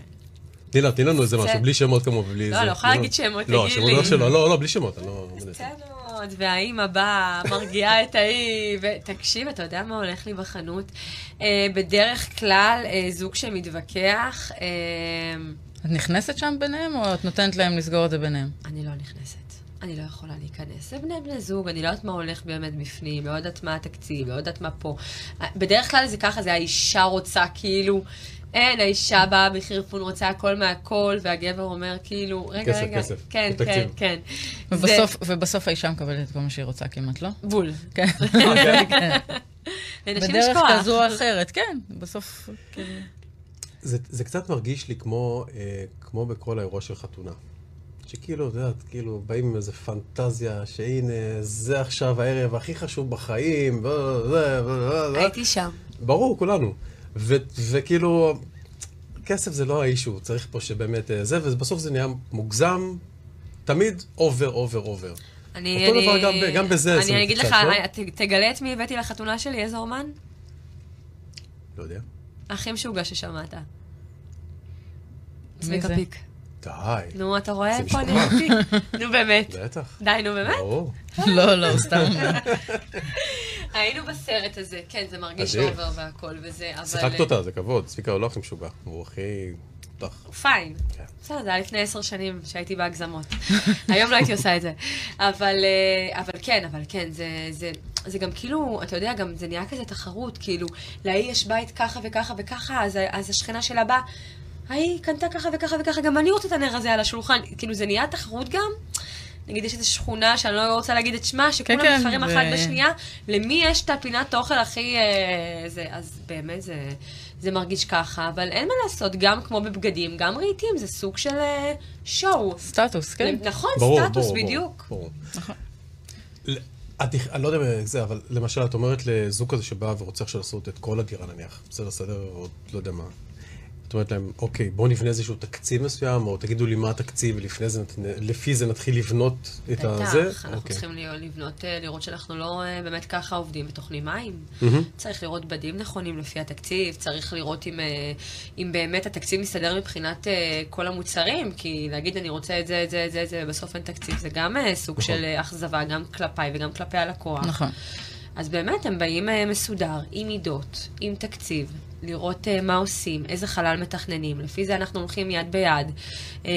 B: תני לה, תני לנו איזה משהו,
C: זה-
B: בלי שמות כמובן, בלי
C: לא,
B: זה.
C: לא יכולה להגיד שמות,
B: לא,
C: תגיד
B: שמות
C: לי.
B: לא שלו, לא, לא, בלי שמות, אני לא...
C: וואי. סצנות, והאימא באה, מרגיעה את ההיא, ותקשיב, אתה יודע מה הולך לי בחנות? אה, בדרך כלל, אה, זוג שמתווכח, אה,
D: את נכנסת שם ביניהם, או את נותנת להם לסגור את זה ביניהם?
C: אני לא נכנסת. אני לא יכולה להיכנס. זה בני בני זוג, אני לא יודעת מה הולך באמת בפנים, לא יודעת מה התקציב, לא יודעת מה פה. בדרך כלל זה ככה, זה האישה רוצה כאילו, אין, האישה באה בחרפון, רוצה הכל מהכל, והגבר אומר כאילו, רגע,
B: כסף,
C: רגע.
B: כסף,
C: כן,
B: זה
C: כן,
B: תקציב."
C: כן.
D: ובסוף, ובסוף האישה מקבלת את כל מה שהיא רוצה כמעט, לא?
C: זה בול.
D: כן.
C: לנשים יש
D: בדרך
C: כוח.
D: כזו או אחרת, כן, בסוף... כאילו.
B: זה, זה קצת מרגיש לי כמו, אה, כמו בכל האירוע של חתונה. שכאילו, את יודעת, כאילו, באים עם איזה פנטזיה, שהנה, זה עכשיו הערב הכי חשוב בחיים, וזה, וזה, וזה.
C: הייתי שם.
B: ברור, כולנו. ו- וכאילו, כסף זה לא האישו, צריך פה שבאמת אה, זה, ובסוף זה נהיה מוגזם, תמיד אובר, אובר, אובר.
C: אני,
B: אותו
C: אני,
B: דבר גם ב- גם בזה עשו
C: אני אגיד
B: קצת,
C: לך,
B: לא?
C: אני- ת- תגלה את מי הבאתי לחתונה שלי, איזה אומן?
B: לא יודע.
C: אחים שהוגה ששמעת.
D: מי
C: צביקה
D: זה?
C: פיק.
B: די.
C: נו, אתה רואה?
B: זה
C: פה אני
B: משפחה.
C: אמיתי. נו, באמת.
B: בטח.
C: די, נו, באמת?
B: ברור.
D: לא, לא, סתם.
C: היינו בסרט הזה, כן, זה מרגיש
B: אדיר.
C: אובר והכל וזה, אבל... אה,
B: שיחקת אותה, זה כבוד. צביקה הוא לא הכי משוגע. הוא הכי... בטח.
C: פיין.
B: כן.
C: בסדר, זה היה לפני עשר שנים שהייתי בהגזמות. <laughs> היום לא הייתי עושה את זה. אבל, אה, אבל כן, אבל כן, זה, זה, זה גם כאילו, אתה יודע, גם זה נהיה כזה תחרות, כאילו, להיא יש בית ככה וככה וככה, אז, אז השכנה שלה באה, ההיא קנתה ככה וככה וככה, גם אני רוצה את הנר הזה על השולחן. כאילו, זה נהיה תחרות גם. נגיד, יש איזו שכונה שאני לא רוצה להגיד את שמה, שכולם
D: כן,
C: מתחרים
D: זה-
C: אחת בשנייה, למי יש את הפינת אוכל הכי... אה, זה, אז באמת זה, זה מרגיש ככה, אבל אין מה לעשות, גם כמו בבגדים, גם רהיטים, זה סוג של אה, שואו.
D: סטטוס, <laughs> כן.
C: נכון,
B: ברור,
C: סטטוס,
B: ברור, ברור,
C: בדיוק.
B: ברור. ל- את, יכ- אני לא יודע אם זה, אבל למשל, את אומרת לזוג כזה שבא ורוצה עכשיו לעשות את כל הדירה נניח, בסדר, סדר, או לא יודע מה. את אומרת להם, אוקיי, בואו נבנה איזשהו תקציב מסוים, או תגידו לי מה התקציב, ולפני זה, נת- לפי זה נתחיל לבנות את הזה.
C: בטח, אנחנו
B: אוקיי.
C: צריכים להיות- לבנות, אה, לראות שאנחנו לא אה, באמת ככה עובדים וטוחנים מים.
B: מהמם.
C: צריך לראות בדים נכונים לפי התקציב, צריך לראות אם, אה, אם באמת התקציב מסתדר מבחינת אה, כל המוצרים, כי להגיד אני רוצה את זה, את זה, את זה, את זה, ובסוף אין תקציב, זה גם אה, סוג
B: נכון.
C: של אה, אכזבה, גם כלפיי וגם כלפי הלקוח.
D: נכון.
C: אז באמת, הם באים אה, מסודר, עם מידות, עם תקציב, לראות אה, מה עושים, איזה חלל מתכננים. לפי זה אנחנו הולכים יד ביד, אה,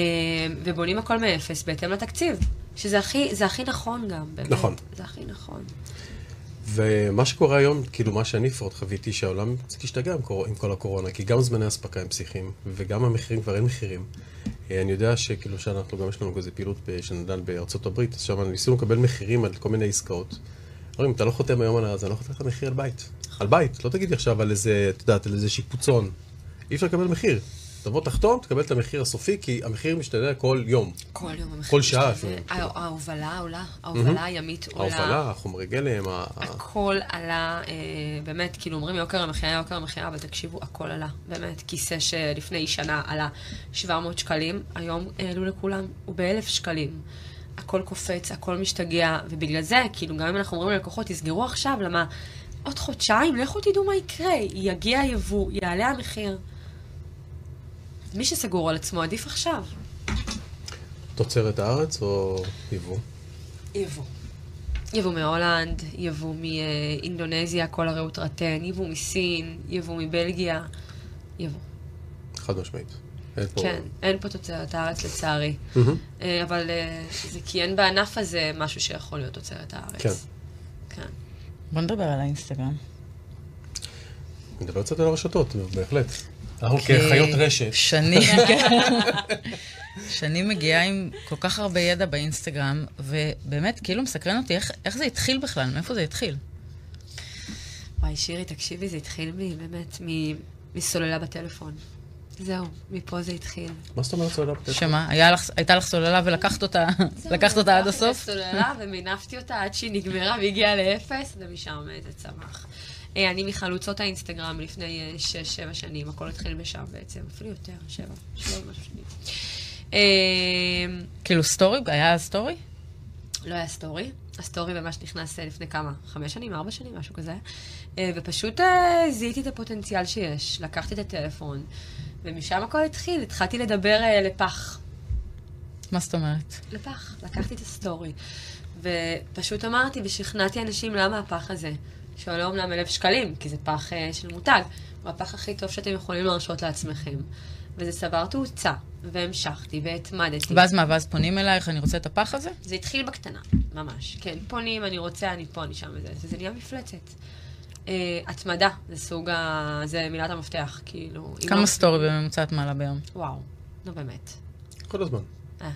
C: ובונים הכל מאפס בהתאם לתקציב. שזה הכי, זה הכי נכון גם, באמת.
B: נכון.
C: זה הכי נכון.
B: ומה שקורה היום, כאילו מה שאני לפחות חוויתי, שהעולם קצת השתגע עם, קור... עם כל הקורונה, כי גם זמני אספקה הם פסיכיים, וגם המחירים כבר אין מחירים. אה, אני יודע שכאילו שאנחנו גם יש לנו איזה פעילות ב- של נדל"ן בארצות הברית, אז שם ניסינו לקבל מחירים על כל מיני עסקאות. אומרים, אתה לא חותם היום על זה, אני לא חותם לך מחיר על בית. על בית, לא תגידי עכשיו על איזה, את יודעת, על איזה שיפוצון. אי אפשר לקבל מחיר. תבוא תחתום, תקבל את המחיר הסופי, כי המחיר משתנה כל יום.
C: כל יום המחיר.
B: כל שעה
C: משתנה.
B: אפילו,
C: הה- אה, ההובלה עולה, ההובלה הימית עולה.
B: ההובלה, החומרי גלם, ה- ה-
C: הכל עלה, אה, באמת, כאילו אומרים יוקר המחיה, יוקר המחיה, אבל תקשיבו, הכל עלה. באמת, כיסא שלפני שנה עלה 700 שקלים, היום העלו לכולם, הוא באלף שקלים. הכל קופץ, הכל משתגע, ובגלל זה, כאילו, גם אם אנחנו אומרים ללקוחות, תסגרו עכשיו, למה עוד חודשיים, לכו תדעו מה יקרה. יגיע היבוא, יעלה המחיר. מי שסגור על עצמו, עדיף עכשיו.
B: תוצרת הארץ או יבוא.
C: יבוא. יבוא מהולנד, יבוא מאינדונזיה, כל הרעות רטן, יבוא מסין, יבוא מבלגיה, יבוא.
B: חד משמעית. אין פה...
C: כן, אין פה תוצרת הארץ לצערי.
B: מהמם.
C: אה, אבל אה, זה כי אין בענף הזה משהו שיכול להיות תוצרת הארץ.
B: כן.
C: כן.
D: בוא נדבר על האינסטגרם.
B: מדבר קצת על הרשתות, בהחלט. אנחנו
D: כי
C: אוקיי.
B: כחיות רשת.
D: שני, שני מגיעה עם כל כך הרבה ידע באינסטגרם, ובאמת, כאילו מסקרן אותי איך, איך זה התחיל בכלל, מאיפה זה התחיל.
C: וואי, שירי, תקשיבי, זה התחיל מ- באמת מ- מסוללה בטלפון. זהו, מפה זה התחיל.
B: מה זאת אומרת סוללה בטלפון?
D: שמה, היה לך, הייתה לך סוללה ולקחת אותה, לקחת אותה עד הסוף? <laughs>
C: סוללה ומינפתי אותה עד שהיא נגמרה והגיעה לאפס, ומשם זה צמח. אה, אני מחלוצות האינסטגרם לפני 6-7 שנים, הכל התחיל משם בעצם, אפילו יותר, 7, 7 משהו שנים. אה,
D: כאילו סטורי, היה אז סטורי?
C: לא היה סטורי. הסטורי ממש נכנס אה, לפני כמה? חמש שנים, ארבע שנים, משהו כזה. אה, ופשוט אה, זיהיתי את הפוטנציאל שיש. לקחתי את הטלפון, ומשם הכל התחיל. התחלתי לדבר אה, לפח.
D: מה זאת אומרת?
C: לפח, לקחתי את הסטורי. ופשוט אמרתי ושכנעתי אנשים למה הפח הזה, שעולה אומנם אלף שקלים, כי זה פח uh, של מותג, הוא הפח הכי טוב שאתם יכולים להרשות לעצמכם. וזה צבר תאוצה, והמשכתי והתמדתי.
D: ואז מה, ואז פונים אלייך, אני רוצה את הפח הזה?
C: זה התחיל בקטנה, ממש. כן, פונים, אני רוצה, אני פה, אני שם וזה, וזה נהיה מפלצת. Uh, התמדה, זה סוג ה... זה מילת המפתח, כאילו. אם לא-
D: כמה סטורי בממוצע את מעלה ביום?
C: וואו, נו באמת.
B: כל הזמן.
C: אה.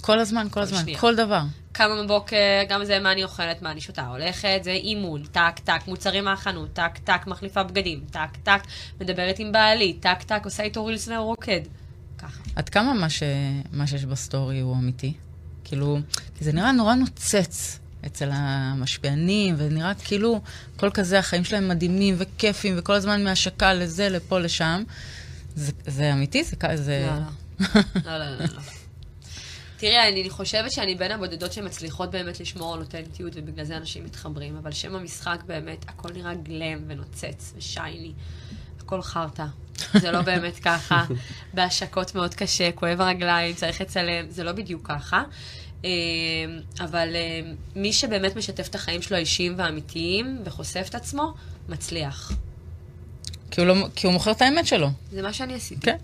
D: כל הזמן, כל הזמן,
C: שנייה.
D: כל דבר.
C: קמה בבוקר, גם זה מה אני אוכלת, מה אני שותה, הולכת, זה אימון, טק, טק, מוצרים מהחנות, טק, טק, מחליפה בגדים, טק, טק, מדברת עם בעלי, טק, טק, עושה איתו רילס ורוקד. ככה.
D: עד כמה מה, ש... מה שיש בסטורי הוא אמיתי? כאילו, כי זה נראה נורא נוצץ אצל המשפיענים, ונראה כאילו כל כזה, החיים שלהם מדהימים וכיפים, וכל הזמן מהשקה לזה, לפה, לשם. זה, זה אמיתי? זה כ- זה...
C: לא, לא, לא, לא. תראה, אני חושבת שאני בין הבודדות שמצליחות באמת לשמור על אותנטיות, ובגלל זה אנשים מתחברים, אבל שם המשחק באמת, הכל נראה גלם ונוצץ ושייני. הכל חרטא. זה לא באמת ככה. בהשקות מאוד קשה, כואב הרגליים, צריך לצלם, זה לא בדיוק ככה. אה, אבל אה, מי שבאמת משתף את החיים שלו האישיים והאמיתיים, וחושף את עצמו, מצליח.
D: כי, הוא לא, כי הוא מוכר את האמת שלו.
C: זה מה שאני עשיתי.
D: כן.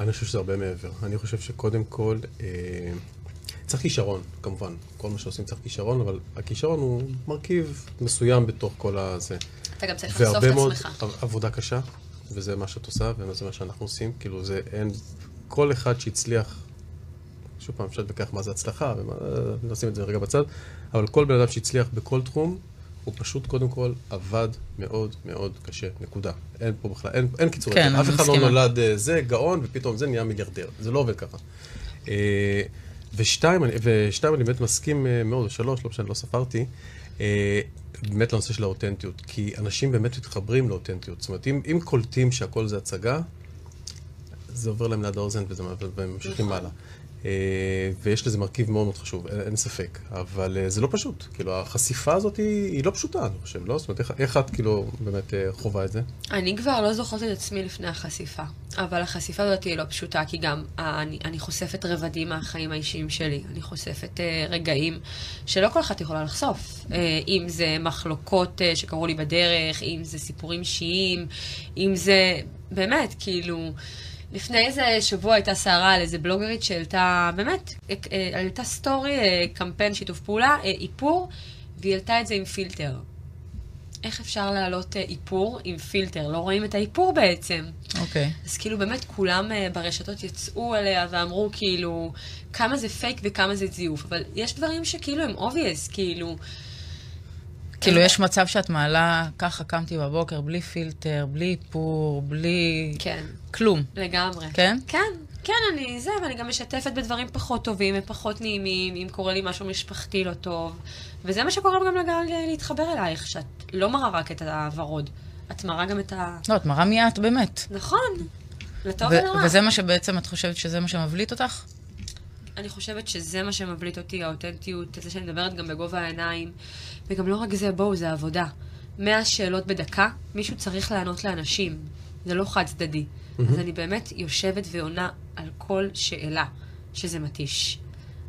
B: אני חושב שזה הרבה מעבר. אני חושב שקודם כל, אה, צריך כישרון, כמובן. כל מה שעושים צריך כישרון, אבל הכישרון הוא מרכיב מסוים בתוך כל הזה.
C: אתה גם צריך לחשוף
B: והרבה
C: את
B: מאוד
C: עצמך.
B: עב- עבודה קשה, וזה מה שאת עושה, וזה מה שאנחנו עושים. כאילו, זה אין... כל אחד שהצליח, שוב פעם, אפשר להתווכח מה זה הצלחה, ונשים את זה רגע בצד, אבל כל בן אדם שהצליח בכל תחום, הוא פשוט קודם כל עבד מאוד מאוד קשה, נקודה. אין פה בכלל, אין, אין קיצור.
D: כן,
B: דרך.
D: אני
B: אף אחד לא
D: מסכימה.
B: נולד אה, זה, גאון, ופתאום זה נהיה מיליארדר. זה לא עובד ככה. אה, ושתיים, אני- ושתיים, אני באמת מסכים אה, מאוד, או שלוש, לא משנה, לא ספרתי, אה, באמת לנושא של האותנטיות. כי אנשים באמת מתחברים לאותנטיות. זאת אומרת, אם, אם קולטים שהכל זה הצגה, זה עובר להם ליד האוזן וזה- והם ממשיכים הלאה. אה, ויש לזה מרכיב מאוד מאוד חשוב, אין, אין ספק. אבל אה, זה לא פשוט. כאילו, החשיפה הזאת היא, היא לא פשוטה, אני חושב, לא? זאת אומרת, איך, איך את כאילו באמת אה, חווה את זה?
C: אני כבר לא זוכרת את עצמי לפני החשיפה, אבל החשיפה הזאת היא לא פשוטה, כי גם אה, אני, אני חושפת רבדים מהחיים האישיים שלי. אני חושפת אה, רגעים שלא כל אחת יכולה לחשוף. אה, אם זה מחלוקות אה, שקרו לי בדרך, אם זה סיפורים אישיים, אם זה... באמת, כאילו... לפני איזה שבוע הייתה סערה על איזה בלוגרית שהעלתה, באמת, אה, אה, העלתה סטורי, אה, קמפיין שיתוף פעולה, אה, איפור, והיא העלתה את זה עם פילטר. איך אפשר להעלות אה, איפור עם פילטר? לא רואים את האיפור בעצם.
D: אוקיי.
C: אז כאילו באמת כולם אה, ברשתות יצאו אליה ואמרו כאילו כמה זה פייק וכמה זה זיוף, אבל יש דברים שכאילו הם אובייס, כאילו,
D: כאילו, יש מצב שאת מעלה, ככה קמתי בבוקר, בלי פילטר, בלי איפור, בלי...
C: כן,
D: כלום.
C: לגמרי.
D: כן?
C: כן, כן, אני זה, ואני גם משתפת בדברים פחות טובים ופחות נעימים, אם קורה לי משהו משפחתי לא טוב, וזה מה שגורם גם לגל אה, להתחבר אלייך, שאת לא מראה רק את הוורוד, את מראה גם את ה...
D: לא, את מראה מי את באמת.
C: נכון, לטוב
D: ו-
C: ולרע.
D: וזה מה שבעצם את חושבת שזה מה שמבליט אותך?
C: אני חושבת שזה מה שמבליט אותי, האותנטיות, זה שאני מדברת גם בגובה העיניים. וגם לא רק זה, בואו, זה עבודה. 100 שאלות בדקה, מישהו צריך לענות לאנשים. זה לא חד-צדדי. אז אני באמת יושבת ועונה על כל שאלה, שזה מתיש.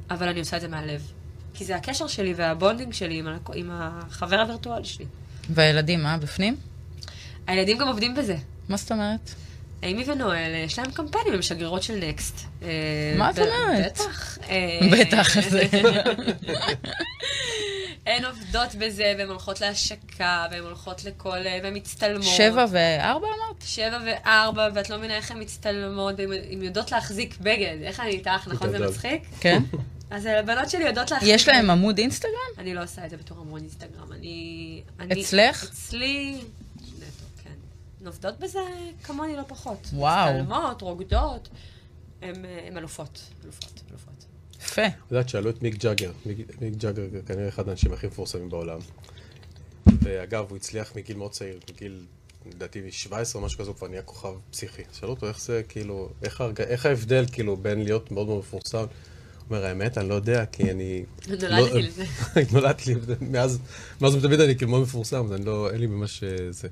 C: אבל אני עושה את זה מהלב. כי זה הקשר שלי והבונדינג שלי עם, הלקו- עם החבר הווירטואלי שלי.
D: והילדים, אה? בפנים?
C: הילדים גם עובדים בזה.
D: מה זאת אומרת?
C: אימי ונואל, אה, יש להם קמפיינים, הם שגרירות של נקסט. אה,
D: מה את
C: ב-
D: אומרת?
C: בטח. אה,
D: <laughs> בטח, זה...
C: <laughs> הן עובדות בזה, והן הולכות להשקה, והן הולכות לכל... אה, והן מצטלמות.
D: שבע וארבע אמרת?
C: שבע וארבע, ואת לא מבינה איך הן מצטלמות, והן יודעות להחזיק בגד. איך אני איתך, נכון? זה
B: גדול.
C: מצחיק?
D: כן.
C: <laughs> אז אה, הבנות שלי יודעות להחזיק...
D: יש להם עמוד אינסטגרם?
C: אני לא עושה את זה בתור המון אינסטגרם. אני... אני-
D: אצלך?
C: אצלי... נטו, כן. הן עובדות בזה כמוני, לא פחות.
D: וואו.
C: מצטלמות, רוקדות. הן אה, הן אלופות. אלופות, אלופות.
D: יפה.
B: את יודעת, שאלו את מיק ג'אגר. מיק מיק ג'אגר כנראה אחד האנשים הכי מפורסמים בעולם. ואגב, הוא הצליח מגיל מאוד צעיר, מגיל, לדעתי, 17 או משהו כזה, הוא כבר נהיה כוכב פסיכי. שאלו אותו איך זה, כאילו, איך, הרג... איך ההבדל, כאילו, בין להיות מאוד מאוד מפורסם. הוא אומר, האמת, אני לא יודע, כי אני... לא-
C: נולדתי לזה.
B: <laughs> נולדתי לזה, מאז, מאז ומתמיד אני כאילו מאוד מפורסם, אז אני לא, אין לי ממש אה, זה.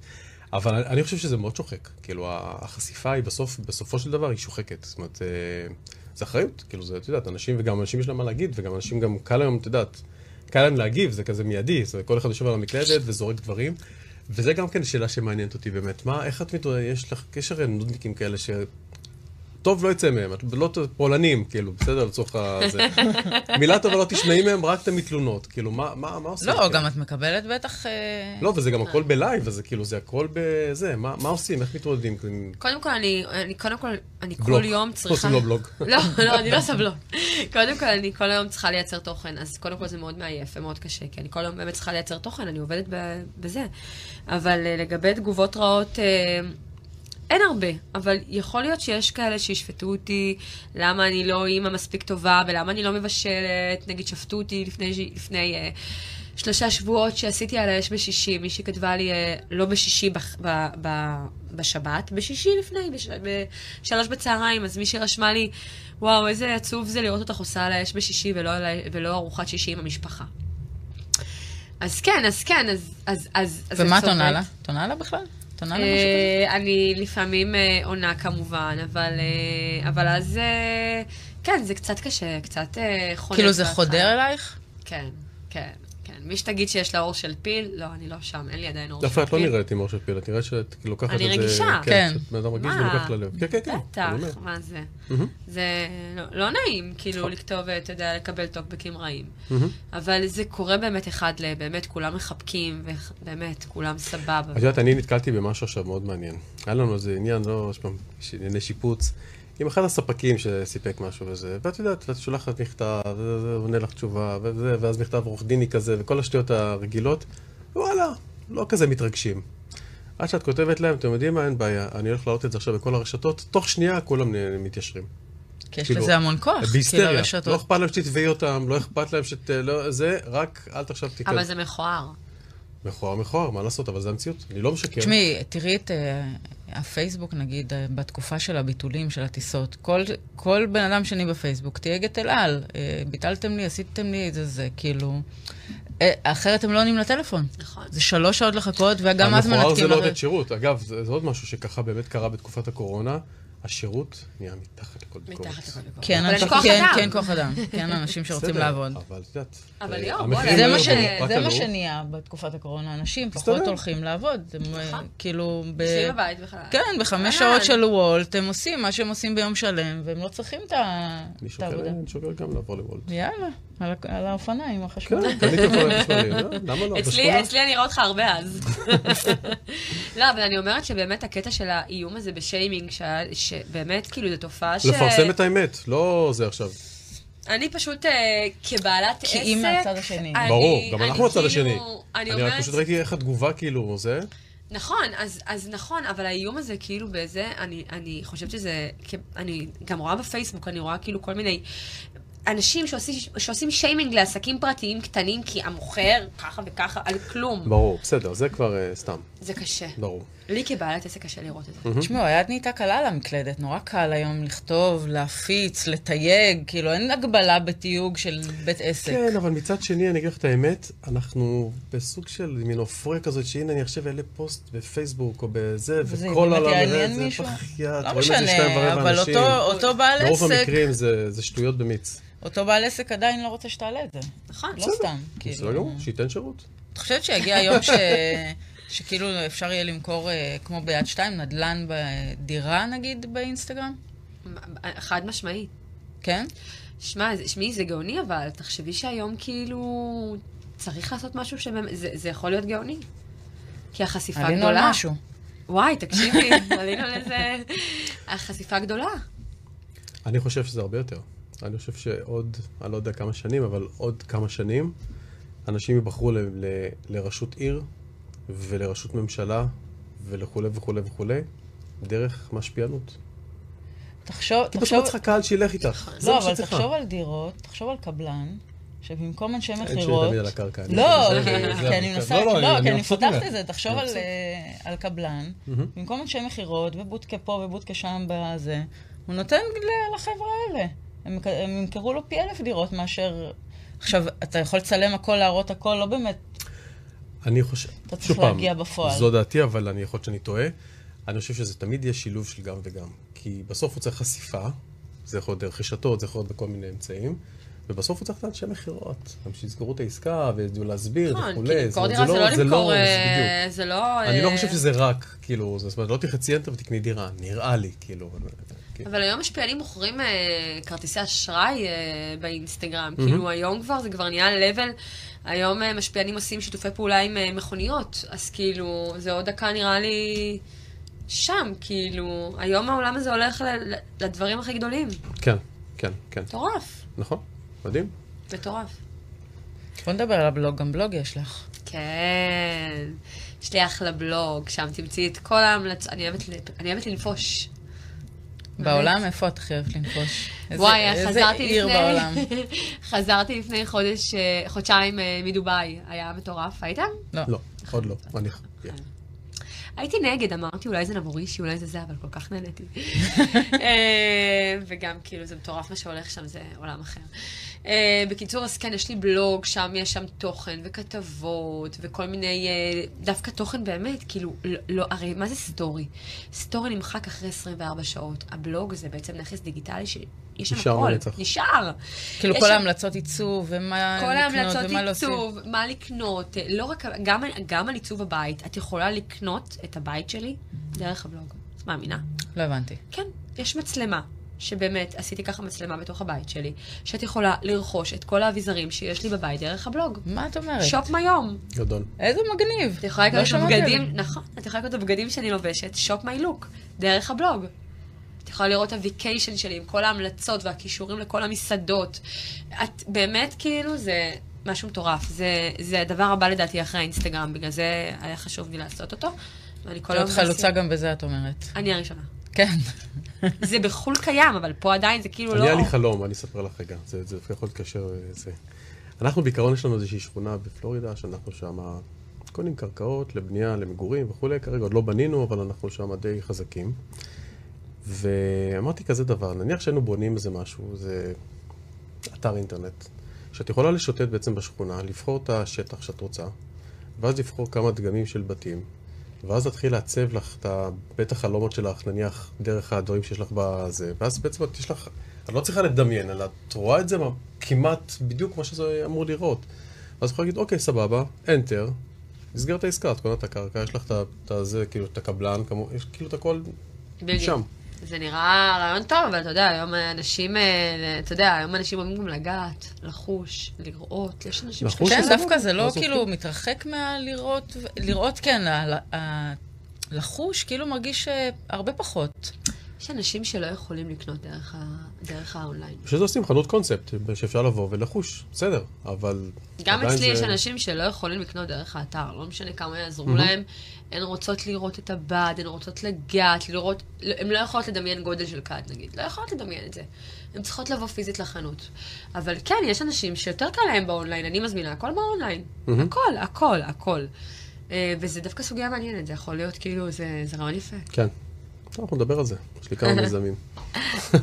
B: אבל אני, אני חושב שזה מאוד שוחק. כאילו, ה- החשיפה היא בסוף, בסופו של דבר היא שוחקת. זאת אומרת, אה, זה אחריות. כאילו, זה, את יודעת, אנשים, וגם אנשים יש להם מה להגיד, וגם אנשים גם קל היום, את יודעת, קל להם להגיב, זה כזה מיידי. זה כל אחד יושב על המקלדת וזורק דברים. וזה גם כן שאלה שמעניינת אותי באמת. מה, איך את מתמודדת, יש לך, יש הרי נודניקים כאלה ש... טוב לא יצא מהם, את לא ת- פולנים, כאילו, בסדר, לצורך ה... זה. מילה טובה לא תשמעי מהם, רק תמיד תלונות. כאילו, מה, מה, מה עושים?
D: לא,
B: כאילו?
D: גם את מקבלת בטח... אה,
B: לא, וזה גם הכל בלייב, אז זה כאילו, זה הכל בזה, מה, מה עושים, איך מתמודדים? עם-
C: קודם כל, אני, אני, קודם כל, אני
B: בלוק.
C: כל יום צריכה...
B: עושים לו בלוק.
C: <laughs> לא, לא, אני לא עושה בלוק. קודם כל, אני כל היום צריכה לייצר תוכן, אז קודם כל זה מאוד מעייף ומאוד קשה, כי אני כל היום באמת צריכה לייצר תוכן, אני עובדת ב- בזה. אבל אה, לגבי תגובות רעות, אה, אין הרבה, אבל יכול להיות שיש כאלה שישפטו אותי, למה אני לא אימא מספיק טובה, ולמה אני לא מבשלת, נגיד שפטו אותי לפני, ש- לפני אה, שלושה שבועות שעשיתי על האש בשישי, מישהי כתבה לי, אה, לא בשישי, בח- ב, ב, בשבת, בשישי לפני, בש, בשלוש בצהריים, אז מישהי רשמה לי, וואו, איזה עצוב זה לראות אותך עושה על האש בשישי ולא, על ה- ולא ארוחת שישי עם המשפחה. אז כן, אז כן, אז... אז, אז, אז
D: ומה
C: אני
D: את עונה
C: צודקת.
D: לה? את עונה לה בכלל? את עונה לה משהו כזה?
C: אה, אני לפעמים אה, עונה כמובן, אבל, אה, אבל אז, אה, כן, זה קצת קשה, קצת אה, חונק.
D: כאילו זה
C: בהתחלה.
D: חודר אלייך?
C: כן, כן, כן. מי שתגיד שיש לה עור של פיל, לא, אני לא שם, אין לי עדיין עור של
B: דווקא
C: פיל.
B: את לא נראית עם אור של פילה, את נראית שאת כאילו, לוקחת את זה...
C: אוקיי. אני רגישה.
D: כן.
B: שאת בן אדם רגיש
C: מה?
B: ולוקחת ללב. כן, כן, כן. אני אומר. נכון.
C: בטח, מה זה? זה לא, לא נעים, כאילו, לכתוב, אתה יודע, לקבל טוקבקים רעים. אבל זה קורה באמת אחד ל... באמת, כולם מחבקים, ובאמת, כולם סבבה.
B: את יודעת, אני נתקלתי במשהו עכשיו מאוד מעניין. היה לנו איזה עניין, לא, עוד פעם, ש- ענייני שיפוץ, עם אחד הספקים שסיפק משהו וזה, ואת יודעת, ואת שולחת מכתב, וזה, וזה, עונה לך תשובה, וזה, ואז מכתב עורך דיני כזה, וכל השטויות הרגילות, וואלה, לא כזה מתרגשים. עד שאת כותבת להם, אתם יודעים מה, אין בעיה, אני הולך להעלות את זה עכשיו בכל הרשתות, תוך שנייה כולם נ- מתיישרים.
D: כי יש
B: כאילו,
D: לזה המון כוח. כאילו
B: בהיסטריה. לא
D: הרשתות.
B: אכפת להם שתתבעי אותם, לא אכפת להם שת... לא, זה, רק אל תחשב תיקח.
C: אבל זה מכוער.
B: מכוער, מכוער, מה לעשות, אבל זה המציאות, אני לא משקר.
D: תשמעי, תראי את אה, הפייסבוק, נגיד, אה, בתקופה של הביטולים של הטיסות. כל- כל בן אדם שני בפייסבוק תייג את אל על. אה, ביטלתם לי, עשיתם לי את זה, זה, כאילו... אה, אחרת הם לא עונים לטלפון.
C: נכון.
D: זה שלוש שעות לחכות, וגם אז
B: המכוער זה
D: מנתקים...
B: לא
D: הרי-
B: עובד שירות. אגב, זה זה עוד משהו שככה באמת קרה בתקופת הקורונה. השירות נהיה מתחת לכל ביקורת.
C: מתחת לכל ביקורת.
D: כן,
C: אבל
D: אנשים-
C: יש כוח
D: כן,
C: אדם.
D: כן, כוח אדם.
B: <laughs>
D: כן, אנשים שרוצים
B: בסדר,
D: לעבוד.
B: אבל את יודעת...
C: אבל
B: אה,
C: ליאור,
B: המחירים
C: בוא'נה,
D: זה
B: היו
D: מה
B: רק
C: אבל
D: ש- זה מה
B: עלו.
D: שנהיה בתקופת הקורונה, אנשים פחות
B: בסדר.
D: הולכים לעבוד. הם, אה,
C: נכון.
D: כאילו, ב...
C: יושבים בבית בכלל. אה,
D: כן, בחמש
C: אהלן.
D: שעות של וולט, הם עושים מה שהם עושים ביום שלם, והם לא צריכים את ה-
B: אני
D: את העבודה.
B: שוקל- אני שוקל גם לעבור
C: <laughs>
B: לוולט.
D: יאללה, על ה- על האופניים החשמל.
B: כן, קניתי אופניים חשמליים, אה, למה לא?
C: אצלי,
B: בשכונה?
C: אצלי אני רואה אותך הרבה אז. <laughs> לא, אבל אני אומרת שבאמת הקטע של האיום הזה בשיימינג, שהיה- שבאמת, כאילו, זו תופעה ש...
B: לפרסם את האמת, לא זה עכשיו.
C: אני פשוט, אה, כבעלת עסק...
D: כי היא מהצד השני.
C: אני-
B: ברור, גם
C: אני
B: אנחנו הצד
C: כאילו-
B: השני. אני
C: אני
B: רק
C: אומרת,
B: פשוט ראיתי איך התגובה כאילו זה.
C: נכון, אז, אז נכון, אבל האיום הזה כאילו באיזה, אני, אני חושבת שזה, כ- אני גם רואה בפייסבוק, אני רואה כאילו כל מיני אנשים שעושים, שעושים שיימינג לעסקים פרטיים קטנים, כי המוכר ככה וככה, על כלום.
B: ברור, בסדר, זה כבר אה, סתם,
C: זה קשה.
B: ברור.
C: לי כבעלת עסק קשה לראות את
B: Mm.
C: זה.
D: תשמעו, היד נהייתה קלה על המקלדת, נורא קל היום לכתוב, להפיץ, לתייג, כאילו אין הגבלה בתיוג של בית עסק.
B: כן, אבל מצד שני, אני אגיד לך את האמת, אנחנו בסוג של מין עופרה כזאת, שהנה אני עכשיו אעלה פוסט בפייסבוק או בזה,
D: וזה
B: וכל
D: באמת
B: העולם יראה
D: יעניין
B: את זה,
D: מישהו?
B: בחייאת,
D: לא
B: רואים את זה שתיים
D: משנה,
B: ורבע
D: אבל
B: אנשים.
D: אותו- אותו בעל
B: ברוב
D: עסק,
B: המקרים זה זה שטויות במיץ.
D: אותו בעל עסק עדיין לא רוצה שתעלה את זה.
C: נכון.
D: לא סתם,
B: בסדר
D: כאילו.
B: גמור, שייתן שירות.
D: את חושבת שיגיע היום ש... <laughs> שכאילו אפשר יהיה למכור, אה, כמו ביד שתיים, נדלן בדירה נגיד באינסטגרם?
C: חד משמעית.
D: כן?
C: שמע, זה- שמי, זה גאוני, אבל תחשבי שהיום כאילו צריך לעשות משהו שבאמת, זה, זה יכול להיות גאוני. כי החשיפה גדולה.
D: עלינו על משהו. <laughs>
C: וואי, תקשיבי, עלינו על איזה... החשיפה גדולה.
B: אני חושב שזה הרבה יותר. אני חושב שעוד, אני לא יודע כמה שנים, אבל עוד כמה שנים, אנשים ייבחרו ל- ל- לראשות עיר ולראשות ממשלה ולכולי וכולי וכולי, דרך משפיענות.
D: תחשוב,
B: כי פשוט
D: תחשוב,
B: את צריכה קהל שילך איתך. זה
D: לא,
B: מה
D: אבל
B: שאת צריכה.
D: תחשוב על דירות, תחשוב על קבלן, שבמקום אנשי
B: אין שיר
D: מכירות...
B: תמיד על הקרקע. אני
D: לא,
B: חושב שזה-
D: כי-
B: זה
D: כי אני
B: המרכז.
D: מנסה, לא, כי אני
B: מבסוט
D: מפתחת
B: ממך.
D: את זה, תחשוב
B: אני
D: על,
B: מבסוט.
D: אה, על קבלן,
B: מהמם.
D: במקום אנשי מכירות, ובודקה פה ובודקה שם בזה, הוא נותן ל- לחבר'ה האלה. הם מק- הם ימכרו לו פי אלף דירות מאשר... עכשיו, אתה יכול לצלם הכל, להראות הכל, לא באמת.
B: אני חושב,
D: אתה צריך
B: שוב פעם,
D: להגיע בפועל.
B: זו דעתי, אבל אני יכול להיות שאני טועה. אני חושב שזה תמיד יהיה שילוב של גם וגם. כי בסוף הוא צריך חשיפה, זה יכול להיות דרך רשתות, זה יכול להיות בכל מיני אמצעים, ובסוף הוא צריך את האנשי מכירות. גם שיזכרו את העסקה, וידעו להסביר וכולי.
C: נכון, כי
B: זאת
C: למכור
B: אומרת,
C: דירה זה לא
B: זה
C: למכור...
B: זה
C: אה,
B: בדיוק.
C: זה לא...
B: אני לא
C: אה,
B: חושב שזה רק, כאילו, זה- זאת אומרת, לא תלחצי אנטר ותקני דירה, נראה לי, כאילו.
D: אה.
B: כאילו.
C: אבל היום משפיענים מוכרים אה, כרטיסי אשראי אה, באינסטגרם. כאילו היום כבר, זה כבר נהיה לבל. היום אה, משפיענים עושים שיתופי פעולה עם אה, מכוניות, אז כאילו, זה עוד דקה נראה לי שם, כאילו. היום העולם הזה הולך ל- ל- לדברים הכי גדולים.
B: כן, כן, כן.
C: מטורף,
B: נכון, מדהים.
C: מטורף.
D: בוא נדבר על הבלוג, גם בלוג יש לך.
C: כן, יש לי אחלה בלוג, שם תמצאי את כל ההמלצות, אני אוהבת, ל- אני אוהבת לנפוש.
D: בעולם, איפה את הכי אוהבת לנפוש? איזה-
C: וואי,
D: איזה
C: חזרתי
D: עיר
C: לפני,
D: בעולם.
C: <laughs> חזרתי לפני חודש, אה, חודשיים אה, מדובאי, היה מטורף, הייתם?
D: לא.
B: לא, עוד לא. אני...
C: הייתי נגד, אמרתי אולי זה נבורישי, אולי זה זה, אבל כל כך
D: <laughs>
C: נהניתי. אה, וגם כאילו זה מטורף מה שהולך שם, זה עולם אחר. אה, בקיצור, אז כן, יש לי בלוג, שם יש שם תוכן וכתבות וכל מיני, אה, דווקא תוכן באמת, כאילו, לא- לא, הרי מה זה סטורי? סטורי נמחק אחרי 24 שעות. הבלוג זה בעצם נכס דיגיטלי שיש שם
B: נשאר
C: הכל.
B: לנצח.
C: נשאר.
D: כאילו
C: יש
D: כל
C: שם-
D: ההמלצות עיצוב, ומה
C: כל
D: לקנות
C: ההמלצות
D: ומה לא להוסיף.
C: עיצוב, מה לקנות, אה, לא רק, גם, גם על עיצוב הבית, את יכולה לקנות את הבית שלי דרך הבלוג. את מאמינה?
D: לא הבנתי.
C: כן, יש מצלמה, שבאמת, עשיתי ככה מצלמה בתוך הבית שלי, שאת יכולה לרכוש את כל האביזרים שיש לי בבית דרך הבלוג.
D: מה את אומרת?
C: שופ מיום.
B: גדול.
D: איזה מגניב.
C: את יכולה לקנות
D: לא
C: את
D: שמעתי על
C: הבגדים, נכון, את יכולה לקנות את הבגדים שאני לובשת, שופ מי לוק, דרך הבלוג. את יכולה לראות את הוויקיישן שלי עם כל ההמלצות והכישורים לכל המסעדות. את באמת, כאילו, זה משהו מטורף. זה, זה הדבר הבא לדעתי אחרי האינסטגרם, בגלל זה היה חשוב לי לעשות אותו. ואני כל
D: זה.
C: היום...
D: להיות חלוצה
C: מנסה-
D: גם בזה, את אומרת.
C: אני הראשונה.
D: כן.
C: זה בחו"ל קיים, אבל פה עדיין זה כאילו
B: אני
C: לא...
B: היה לי חלום, אני אספר לך רגע, זה זה דווקא יכול להתקשר לזה. אנחנו בעיקרון יש לנו איזושהי שכונה בפלורידה, שאנחנו שם קונים קרקעות לבנייה, למגורים וכולי, כרגע עוד לא בנינו, אבל אנחנו שם די חזקים. ואמרתי כזה דבר, נניח שהיינו בונים איזה משהו, זה אתר אינטרנט, שאת יכולה לשוטט בעצם בשכונה, לבחור את השטח שאת רוצה, ואז לבחור כמה דגמים של בתים, ואז להתחיל לעצב לך את ה- בית החלומות שלך, נניח, דרך הדברים שיש לך בזה, ואז בעצם את יש לך, את לא צריכה לדמיין, אלא את רואה את זה מה- כמעט בדיוק כמו שזה אמור לראות. ואז את יכולה להגיד, אוקיי, סבבה, enter, נסגרת העסקה, את קונה את הקרקע, יש לך את ה- את הזה, כאילו, את הקבלן, כמו, יש כאילו את הכל
C: בדיוק.
B: שם.
C: זה נראה רעיון טוב, אבל אתה יודע, היום אנשים, אה, אתה יודע, היום אנשים אוהבים גם לגעת, לחוש, לראות, יש אנשים
B: לחוש?
C: שקשה
D: כן,
B: שזה
D: דווקא זה
B: לא
D: לא
B: זורקים.
D: כאילו מתרחק מהלראות, ו- לראות כן, ה- ה- ה- לחוש כאילו מרגיש אה, הרבה פחות.
C: יש אנשים שלא יכולים לקנות דרך ה- דרך האונליין.
B: בשביל זה עושים חנות קונספט, שאפשר לבוא ולחוש, בסדר, כן, אבל...
C: גם
B: עדיין
C: אצלי יש
B: זה-
C: אנשים שלא יכולים לקנות דרך האתר, לא משנה כמה יעזרו
B: מהמם.
C: להם. הן רוצות לראות את הבד, הן רוצות לגעת, לראות... לא- הן לא יכולות לדמיין גודל של כד, נגיד. לא יכולות לדמיין את זה. הן צריכות לבוא פיזית לחנות. אבל כן, יש אנשים שיותר קל להם באונליין, אני מזמינה הכל באונליין.
B: מהמם.
C: הכל, הכל, הכל. אה, וזה דווקא סוגיה מעניינת, זה יכול להיות כאילו, זה זה רעיון יפה.
B: כן. טוב, אנחנו נדבר על זה. יש לי
C: <laughs>
B: כמה מיזמים. <laughs>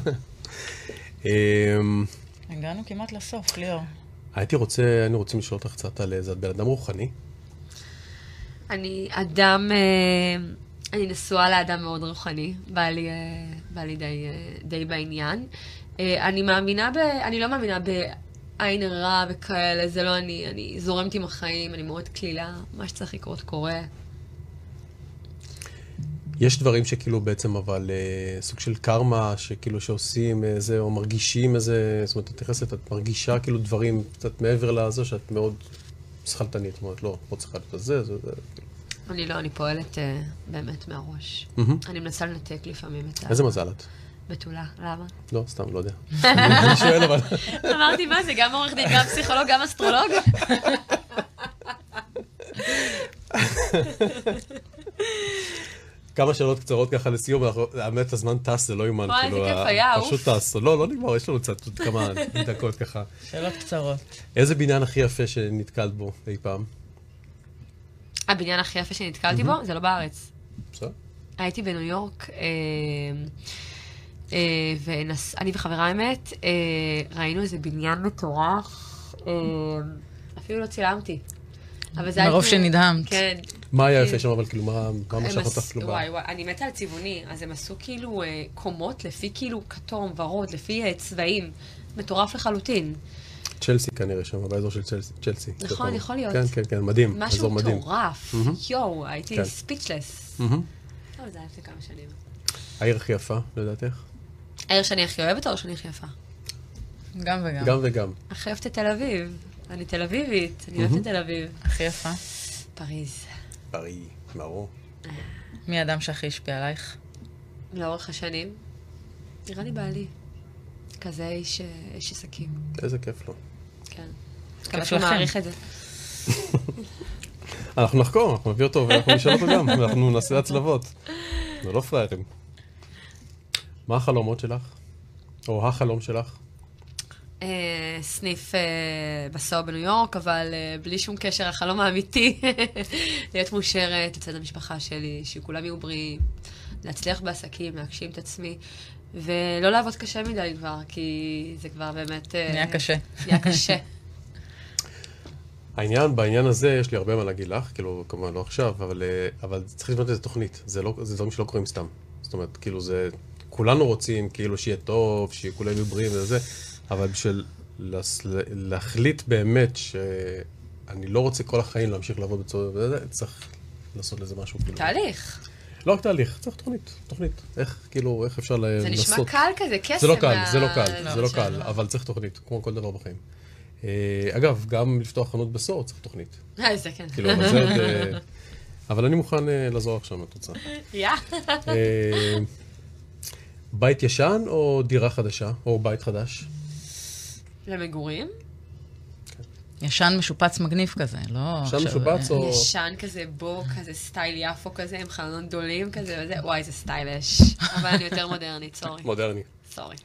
B: אמ,
D: הגענו כמעט לסוף, ליאור.
B: הייתי רוצה, היינו רוצים לשאול אותך קצת על איזה, את בן אדם רוחני?
C: אני אדם, אה, אני נשואה לאדם מאוד רוחני, בא לי, אה, בא לי די, אה, די בעניין. אה, אני מאמינה ב... אני לא מאמינה בעין הרע וכאלה, זה לא אני, אני זורמת עם החיים, אני מאוד קלילה, מה שצריך לקרות קורה.
B: יש דברים שכאילו בעצם, אבל אה, סוג של קרמה, שכאילו שעושים איזה, או מרגישים איזה, זאת אומרת, את נכנסת, את מרגישה כאילו דברים קצת מעבר לזה, שאת מאוד שכלתנית, זאת אומרת, לא, לא צריכה להיות זה, זה, זה. כאילו.
C: אני לא, אני פועלת אה, באמת מהראש.
B: מהמם.
C: אני מנסה לנתק לפעמים את ה...
B: איזה מזל את?
C: בתולה, למה?
B: לא, סתם,
C: <laughs>
B: לא יודע. אני שואל אבל.
C: אמרתי, מה זה, גם עורך דין, גם פסיכולוג, גם אסטרולוג?
B: כמה שאלות קצרות ככה לסיום, אנחנו- האמת הזמן טס, זה לא יאומן,
C: וואי,
B: כאילו,
C: איזה כיף
B: ה-
C: היה, אוף.
B: פשוט טס, לא, לא נגמר, יש לנו קצת עוד
C: <laughs>
B: כמה דקות ככה.
D: שאלות קצרות.
B: איזה בניין הכי יפה שנתקלת בו אי פעם?
C: הבניין הכי יפה שנתקלתי בו, זה לא בארץ.
B: בסדר?
C: הייתי בניו יורק, אה, אה, ונס... אני וחברה האמת, אה, ראינו איזה בניין מטורף, אה, אפילו לא צילמתי. אבל זה היה
D: מרוב
C: כאילו-
D: שנדהמת.
C: כן.
B: מה היה יפה
C: כן.
B: שם, אבל כאילו, מה מה
C: הם
B: משך
C: עש-
B: אותך כאילו? ב-
C: וואי וואי, אני מתה על צבעוני, אז הם עשו כאילו אה, קומות לפי כאילו כתום, ורוד, לפי אה, צבעים. מטורף לחלוטין.
B: צ'לסי כנראה שם, באזור של צ'לסי- צ'לסי.
C: נכון, יכול להיות.
B: כן, כן, כן, מדהים,
C: משהו
B: אזור מדהים.
C: מטורף.
B: מהמם.
C: יואו, הייתי
B: כן.
C: ספיצ'לס.
B: מהמם.
C: אבל זה היה לפני כמה שנים.
B: העיר הכי יפה, לדעתך?
C: העיר שאני הכי אוהבת או שאני הכי יפה?
D: גם וגם.
B: גם וגם.
C: הכי אוהבת את תל אביב. אני תל אביבית, אני אוהבת את תל אביב.
D: הכי יפה.
C: פריז.
B: בריא, ברור.
D: מי האדם שהכי השפיע עלייך?
C: לאורך השנים, נראה לי בעלי. כזה איש, אה, איש עסקים,
B: איזה כיף לו.
C: כן. מקווה
D: כיף
C: שהוא
D: לכם.
C: מעריך את זה.
B: אנחנו נחקור, אנחנו נביא אותו ואנחנו נשאל אותו גם, ואנחנו נעשה הצלבות. זה לא פראיירים. מה החלומות שלך? או החלום שלך?
C: אה, סניף אה, בסוע בניו יורק, אבל אה, בלי שום קשר, החלום האמיתי, <laughs> להיות מאושרת לצד המשפחה שלי, שכולם יהיו בריאים, להצליח בעסקים, להגשים את עצמי, ולא לעבוד קשה מדי כבר, כי זה כבר באמת... אה,
D: נהיה קשה.
C: נהיה
D: <laughs>
C: קשה.
B: העניין, בעניין הזה יש לי הרבה מה להגיד לך, כאילו, כמובן לא עכשיו, אבל, אה, אבל צריך לבנות איזה תוכנית, זה, לא, זה דברים שלא קורים סתם. זאת אומרת, כאילו זה, כולנו רוצים, כאילו, שיהיה טוב, שכולם יהיו בריאים וזה, אבל בשביל לס, להחליט באמת שאני לא רוצה כל החיים להמשיך לעבוד בצורה, וזה, צריך לעשות לזה משהו, כאילו.
C: תהליך.
B: לא רק תהליך, צריך תוכנית, תוכנית. איך, כאילו, איך אפשר לנסות.
C: זה נשמע קל כזה, קסם.
B: זה לא קל,
C: מה-
B: זה לא קל, זה לא
C: של
B: קל,
C: הדבר.
B: אבל צריך תוכנית, כמו כל דבר בחיים. אה, אגב, גם לפתוח חנות בסור צריך תוכנית.
C: אה, זה כן.
B: כאילו, אבל זה עוד... אה, אבל אני מוכן אה, לעזור לך שם, אם את
C: <laughs>
B: רוצה.
C: יא.
B: אה, בית ישן או דירה חדשה, או בית חדש?
C: למגורים?
D: ישן משופץ מגניב כזה, לא...
B: ישן
D: עכשיו,
B: משובץ או...
C: ישן כזה, בור כזה, סטייל יפו כזה, עם חלונות גדולים כזה וזה, וואי, זה סטיילש. אבל אני יותר מודרנית,
B: <laughs>
C: סורי.
B: מודרני.
C: סורי.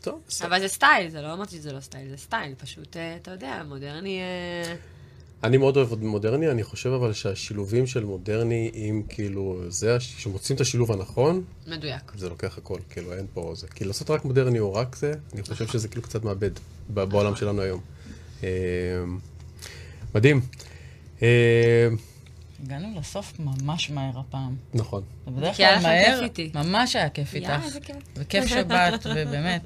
B: טוב, בסדר.
C: אבל זה סטייל, זה לא אמרתי שזה לא סטייל, זה סטייל, פשוט, אה, אתה יודע, מודרני... אה,
B: אני מאוד אוהב מודרני, אני חושב אבל שהשילובים של מודרני עם כאילו זה, הש- כשמוצאים את השילוב הנכון,
C: מדויק.
B: זה לוקח הכל, כאילו אין פה זה. כי לעשות רק מודרני או רק זה, אני חושב שזה כאילו קצת מאבד ב- בעולם שלנו היום. אה, מדהים. אה,
D: הגענו לסוף ממש מהר הפעם.
B: נכון.
D: זה בדרך
C: כי היה
D: כלל
C: לך
D: מהר,
C: כיף איתי.
D: ממש היה כיף איתך.
C: איזה כיף.
D: וכיף
C: <laughs>
D: שבאת, ובאמת,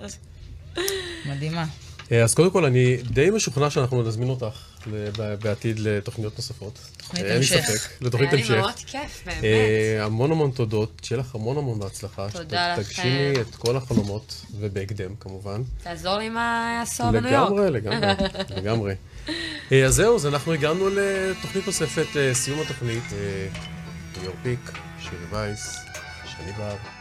D: מדהימה.
B: אה, אז קודם כל, אני די משוכנע שאנחנו נזמין אותך ל- בעתיד לתוכניות נוספות. אה,
D: תוכנית
B: אין לי
D: המשך.
B: ספק, לתוכנית
C: היה לי
B: המשך.
C: מאוד כיף, באמת.
B: אה, המון המון תודות, שיהיה לך המון המון בהצלחה.
C: תודה
B: שתגשימי
C: לכם.
B: את כל החלומות, ובהקדם כמובן.
C: תעזור לי עם העשור בניו יורק.
B: לגמרי, לגמרי, <laughs> לגמרי. אה, אז זהו, אז אנחנו הגענו לתוכנית נוספת, אה, סיום התוכנית. אה, ליאור פיק, שירי וייס, שני בר.